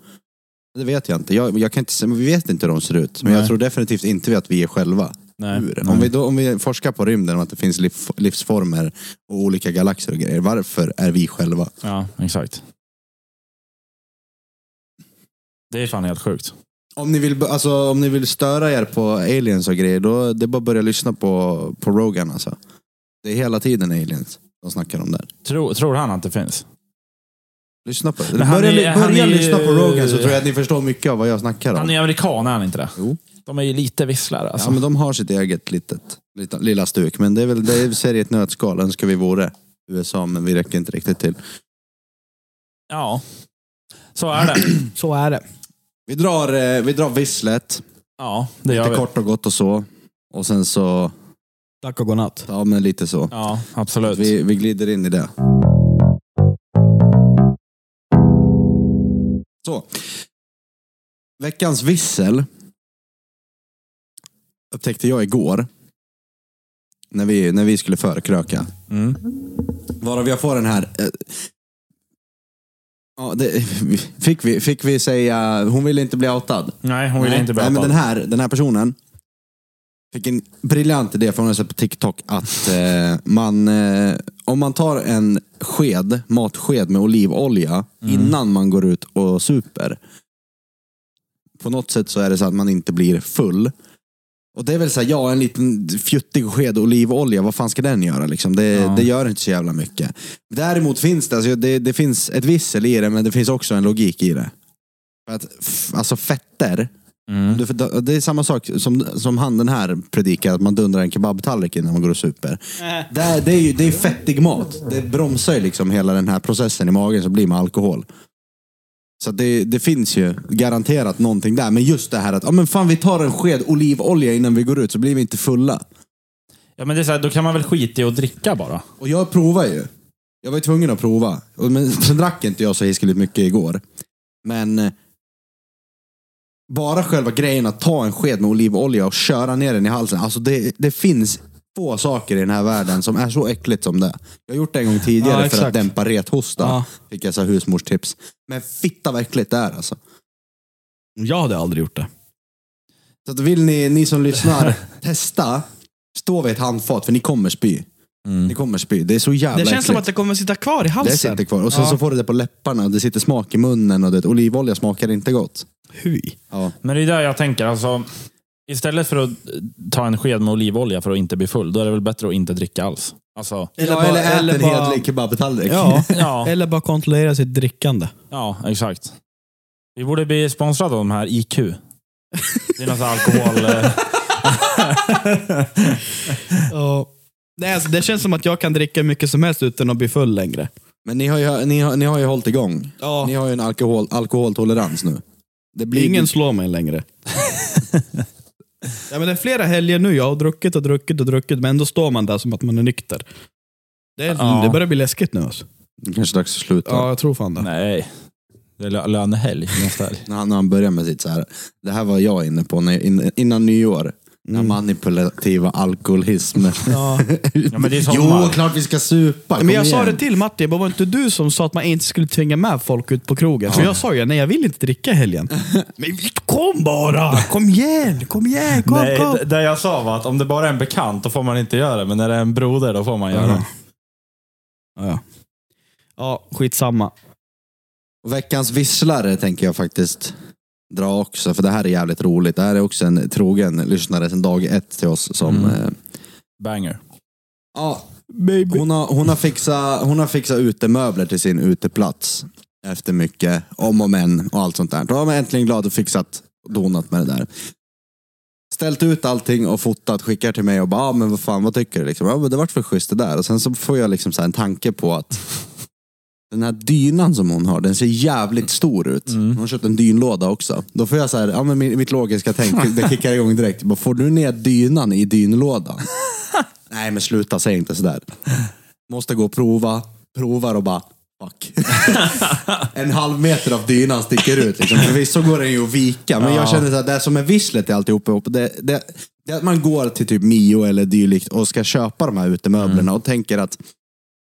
B: Det vet jag inte. Jag, jag kan inte se- men vi vet inte hur de ser ut. Men
C: Nej.
B: jag tror definitivt inte att vi är själva.
C: Nej.
B: Hur?
C: Nej.
B: Om, vi då, om vi forskar på rymden om att det finns liv, livsformer och olika galaxer och grejer. Varför är vi själva?
C: Ja, exakt. Det är fan helt sjukt.
B: Om ni vill, alltså, om ni vill störa er på aliens och grejer, då det är bara att börja lyssna på, på Rogan alltså. Det är hela tiden aliens de snackar om där.
C: Tror, tror han att det finns?
B: Lyssna på det.
C: Men han
B: Börja,
C: är- han
B: börja
C: är-
B: lyssna på Rogan så tror jag att ni förstår mycket av vad jag snackar
C: Han
B: om.
C: är amerikan, är han inte det?
B: Jo.
C: De är ju lite visslare. Alltså.
B: Ja, men de har sitt eget litet, lita- lilla stuk, men det är väl det är ser i ett nötskal. Önskar vi vore USA, men vi räcker inte riktigt till.
C: ja. Så är det.
A: Så är det.
B: Vi drar, eh, vi drar visslet,
C: Ja, det gör
B: lite
C: vi.
B: kort och gott och så. Och sen så,
A: Tack och godnatt.
B: ja men lite så.
C: Ja, absolut.
B: Vi, vi glider in i det. Så. Veckans vissel upptäckte jag igår. När vi, när vi skulle förkröka.
C: Mm.
B: Varav jag får den här... eh, Ja, det, fick, vi, fick vi säga... Hon ville inte bli outad.
C: Nej, hon ville
B: Nej,
C: inte
B: nej,
C: berätta.
B: men den här, den här personen fick en briljant idé för hon har sett på TikTok att eh, man, eh, om man tar en sked, matsked med olivolja
C: Mm.
B: innan man går ut och super. På något sätt så är det så att man inte blir full. Och det är väl så här, ja en liten fjuttig sked olivolja, vad fan ska den göra liksom? Det,
C: Ja.
B: det gör inte så jävla mycket. Däremot finns det, alltså, det, det finns ett vissel i det, men det finns också en logik i det. För att, f- alltså fetter,
C: Mm.
B: du får- Det är samma sak som, som han den här predikar, att man dundrar en kebabtallrik innan man går och super. Det, är- det är ju det är fettig mat. Det bromsar ju liksom hela den här processen i magen, så blir man alkohol. Så att det, det finns ju garanterat någonting där. Men just det här att, ja men fan vi tar en sked olivolja innan vi går ut så blir vi inte fulla.
C: Ja, men det är så här, då kan man väl skita i att dricka bara.
B: Och jag provar ju. Jag var ju tvungen att prova. Och- Men sen drack inte jag så hiskeligt mycket igår. Men eh, bara själva grejen att ta en sked med olivolja och köra ner den i halsen. Alltså det, det finns få saker i den här världen som är så äckligt som det. Jag har gjort det en gång
A: Ja,
B: tidigare för
A: exakt.
B: att dämpa rethosta.
A: Ja.
B: Fick jag så här husmorstips. Men fitta vad äckligt det är alltså.
A: Jag hade aldrig gjort det.
B: Så att vill ni, ni som lyssnar, testa. Stå vid ett handfat för ni kommer spy. Ni kommer spy. Det är så jävla
E: Mm. Det känns som
B: äckligt.
E: att det kommer sitta kvar i
B: Det
E: halsen.
B: sitter kvar. Och sen
E: Ja.
B: så får du det på läpparna, det sitter smak i munnen och det, olivolja smakar inte gott.
A: Hui.
B: Ja.
C: Men det är där jag tänker. Alltså, istället för att ta en sked med olivolja för att inte bli full, då är det väl bättre att inte dricka alls. Alltså,
B: Eller, ja, eller ät en hedlig kebabtallrik.
A: Ja,
C: ja,
A: eller bara kontrollera sitt drickande.
C: ja, exakt. Vi borde bli sponsrade av de här IQ. Det är något så här alkohol... eh,
A: Ja. Nej, alltså, det känns som att jag kan dricka hur mycket som helst utan att bli full längre.
B: Men ni har, ju, ni, har, ni har ju hållit igång.
A: Ja.
B: Ni har ju en alkohol, alkoholtolerans nu. Det blir
A: Ingen slår mig längre. ja, men det är flera helger nu, jag har druckit och druckit och druckit, men ändå står man där som att man är nykter. Det, är,
C: Ja.
A: det börjar bli läskigt nu alltså.
B: Det är kanske dags att sluta.
A: Ja, jag tror fan det.
C: Nej. Det är lö- lönehelg nästa helg.
B: När, han, när han börjar med sitt så här. Det här var jag inne på när, in, innan nyår. Den här manipulativa alkoholismen.
A: Mm. Ja.
C: Ja, men det är sommar.
B: jo, klart vi ska supa. Kom
A: Men jag sa
B: igen.
A: det till Martin, bara, var inte du som sa att man inte skulle tvinga med folk ut på krogen? För jag sa ju, nej jag vill inte dricka i helgen. Men kom bara! Kom igen, kom igen, kom,
C: Nej,
A: kom!
C: d- det jag sa var att om det bara är en bekant då får man inte göra det, men när det är en broder då får man göra
B: Mm.
C: det.
A: Ja, ja. ja, skitsamma.
B: Och Veckans visslare tänker jag faktiskt dra också, för det här är jävligt roligt. Det här är också en trogen lyssnare sedan dag ett till oss. Som, eh,
C: Banger.
B: ja, hon, har, hon, har fixat, hon har fixat utemöbler till sin uteplats. Efter mycket om och men och allt sånt där. Då har man äntligen glad och fixat och donat med det där. Ställt ut allting och fotat, skickar till mig och bara, ah, men vad fan, vad tycker du? Liksom, ah, men det vart för schysst det där. Och sen så får jag liksom så här en tanke på att den här dynan som hon har, den ser jävligt stor ut. Hon har köpt en dynlåda också. Då får jag så här, ja, men min- mitt logiska tänk, det kickar igång direkt. Bara, får du ner dynan i dynlådan? Nej men sluta, säg inte sådär. Måste gå och prova, provar och bara fuck. en halv meter av dynan sticker ut. Liksom. Förvisso går den ju att vika, men jag känner att det som är visslet i alltihop, det, det, det är att man går till typ Mio eller dylikt och ska köpa de här utemöblerna
A: Mm.
B: och tänker att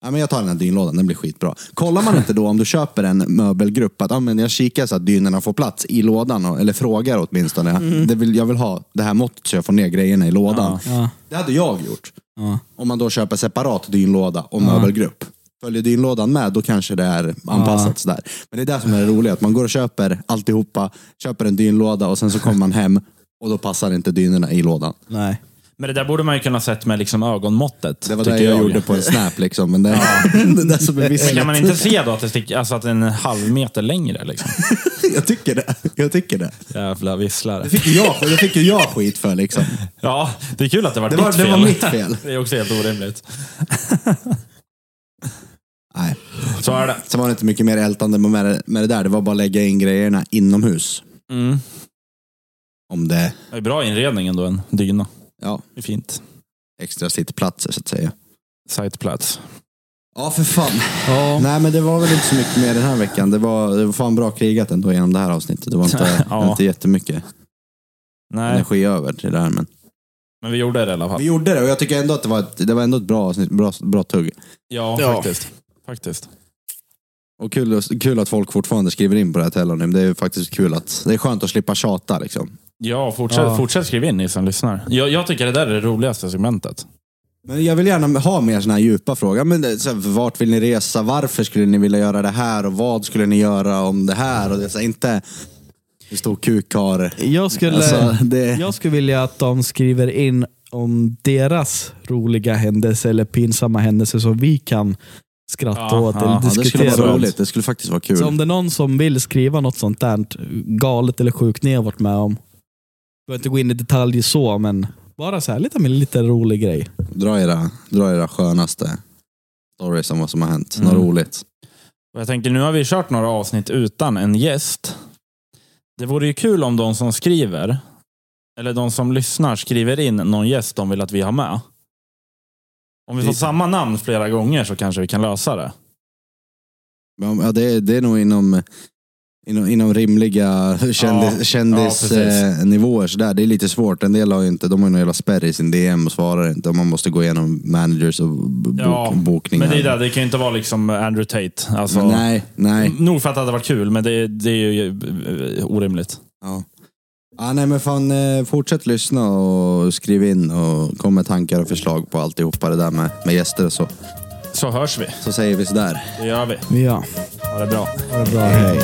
B: Ja, men jag tar den här dynlådan, den blir skitbra. Kollar man inte då om du köper en möbelgrupp att ja, men jag kikar så att dynorna får plats i lådan, och, eller frågar åtminstone. Det vill, jag vill ha det här måttet så jag får ner grejerna i lådan.
A: Mm. Ja.
B: Det hade jag gjort.
A: Ja.
B: Om man då köper separat dynlåda och möbelgrupp. Följer dynlådan med, då kanske det är anpassat sådär. Men det är det som är det roliga, att man går och köper alltihopa, köper en dynlåda och sen så kommer man hem och då passar inte dynorna i lådan.
A: Nej.
C: Men det där borde man ju kunna sett med liksom ögonmåttet.
B: Det var
C: tycker
B: det jag, gjorde på en snap liksom, men det, det där som är
C: Men Kan man
B: visslet.
C: inte se då att det sticker, alltså att den är en halv meter längre? Liksom.
B: Jag tycker det. Jag tycker det.
C: Jävla visslare.
B: Det fick ju jag, det fick ju jag skit för liksom.
C: Ja, det är kul att det var
B: Det
C: ditt
B: var,
C: fel.
B: det var mitt fel.
C: Det är också helt orimligt.
B: Nej.
C: Så är det.
B: Sen var det inte mycket mer ältande med det, med det där. Det var bara att lägga in grejerna inomhus.
C: Mm.
B: Om det,
C: Det är bra inredning ändå, en dyna.
B: ja,
C: Det är fint.
B: extra sittplatser så att säga.
C: Sightplats.
B: Ja, för fan. Nej, men det var väl inte så mycket mer den här veckan. Det var, det var fan bra krigat ändå genom det här avsnittet. Det var inte,
C: Ja.
B: inte jättemycket
C: Nej,
B: energi över till det här. Men...
C: men vi gjorde det i alla fall.
B: Vi gjorde det och jag tycker ändå att det var ett, det var ändå ett bra avsnitt. Bra, bra tugg.
C: Ja,
A: Ja.
C: faktiskt. Faktiskt.
B: Och kul, kul att folk fortfarande skriver in på det här Tellonym. Det är ju faktiskt kul att... Det är skönt att slippa tjata liksom.
C: Ja, fortsätt,
A: Ja.
C: fortsätt skriva in ni som lyssnar. Jag, jag tycker det där är det roligaste segmentet.
B: Men jag vill gärna ha mer sådana här djupa frågor. Men det, så här, vart vill ni resa? Varför skulle ni vilja göra det här? Och vad skulle ni göra om det här? Och det, är så här, inte hur stor kuk har...
A: Jag skulle,
B: Alltså, det-
A: jag skulle vilja att de skriver in om deras roliga händelser eller pinsamma händelser som vi kan skratta
C: Ja,
A: åt
C: ja,
A: eller
C: det
B: Ja, det skulle
A: diskutera.
B: vara
A: runt.
B: roligt. Det skulle faktiskt vara kul.
A: Så om det är någon som vill skriva något sånt där galet eller sjukt ni har varit med om. Jag behöver inte gå in i detalj så, men bara så här, lite, lite rolig grej.
C: Mm.
B: Dra era, dra era skönaste stories om vad som har hänt. Något roligt.
C: Och jag tänker, nu har vi kört några avsnitt utan en gäst. Det vore ju kul om de som skriver, eller de som lyssnar, skriver in någon gäst de vill att vi har med. Om vi får
B: Det-
C: samma namn flera gånger så kanske vi kan lösa det.
B: Ja, ja, det, det är nog inom, inom, inom rimliga kändis,
C: Ja,
B: kändis
C: ja, precis.
B: eh, nivåer sådär. Det är lite svårt. En del har ju inte, de har ju någon jävla spärr i sin DM och svarar inte. Och Man måste gå igenom managers och b- bok,
C: Ja,
B: bokningar.
C: Men det, är där, det kan ju inte vara liksom Andrew Tate. Alltså,
B: Nej, nej.
C: Nog för att det hade varit kul, men det, det är ju eh, orimligt.
B: Ja. Ah, nej men fan, eh, fortsätt lyssna och skriv in och kom med tankar och förslag på alltihopa det där med, med gäster och så.
C: Så hörs vi.
B: Så säger vi sådär.
C: Det gör vi.
A: Ja,
C: Ha det bra.
A: ha det bra. Hej.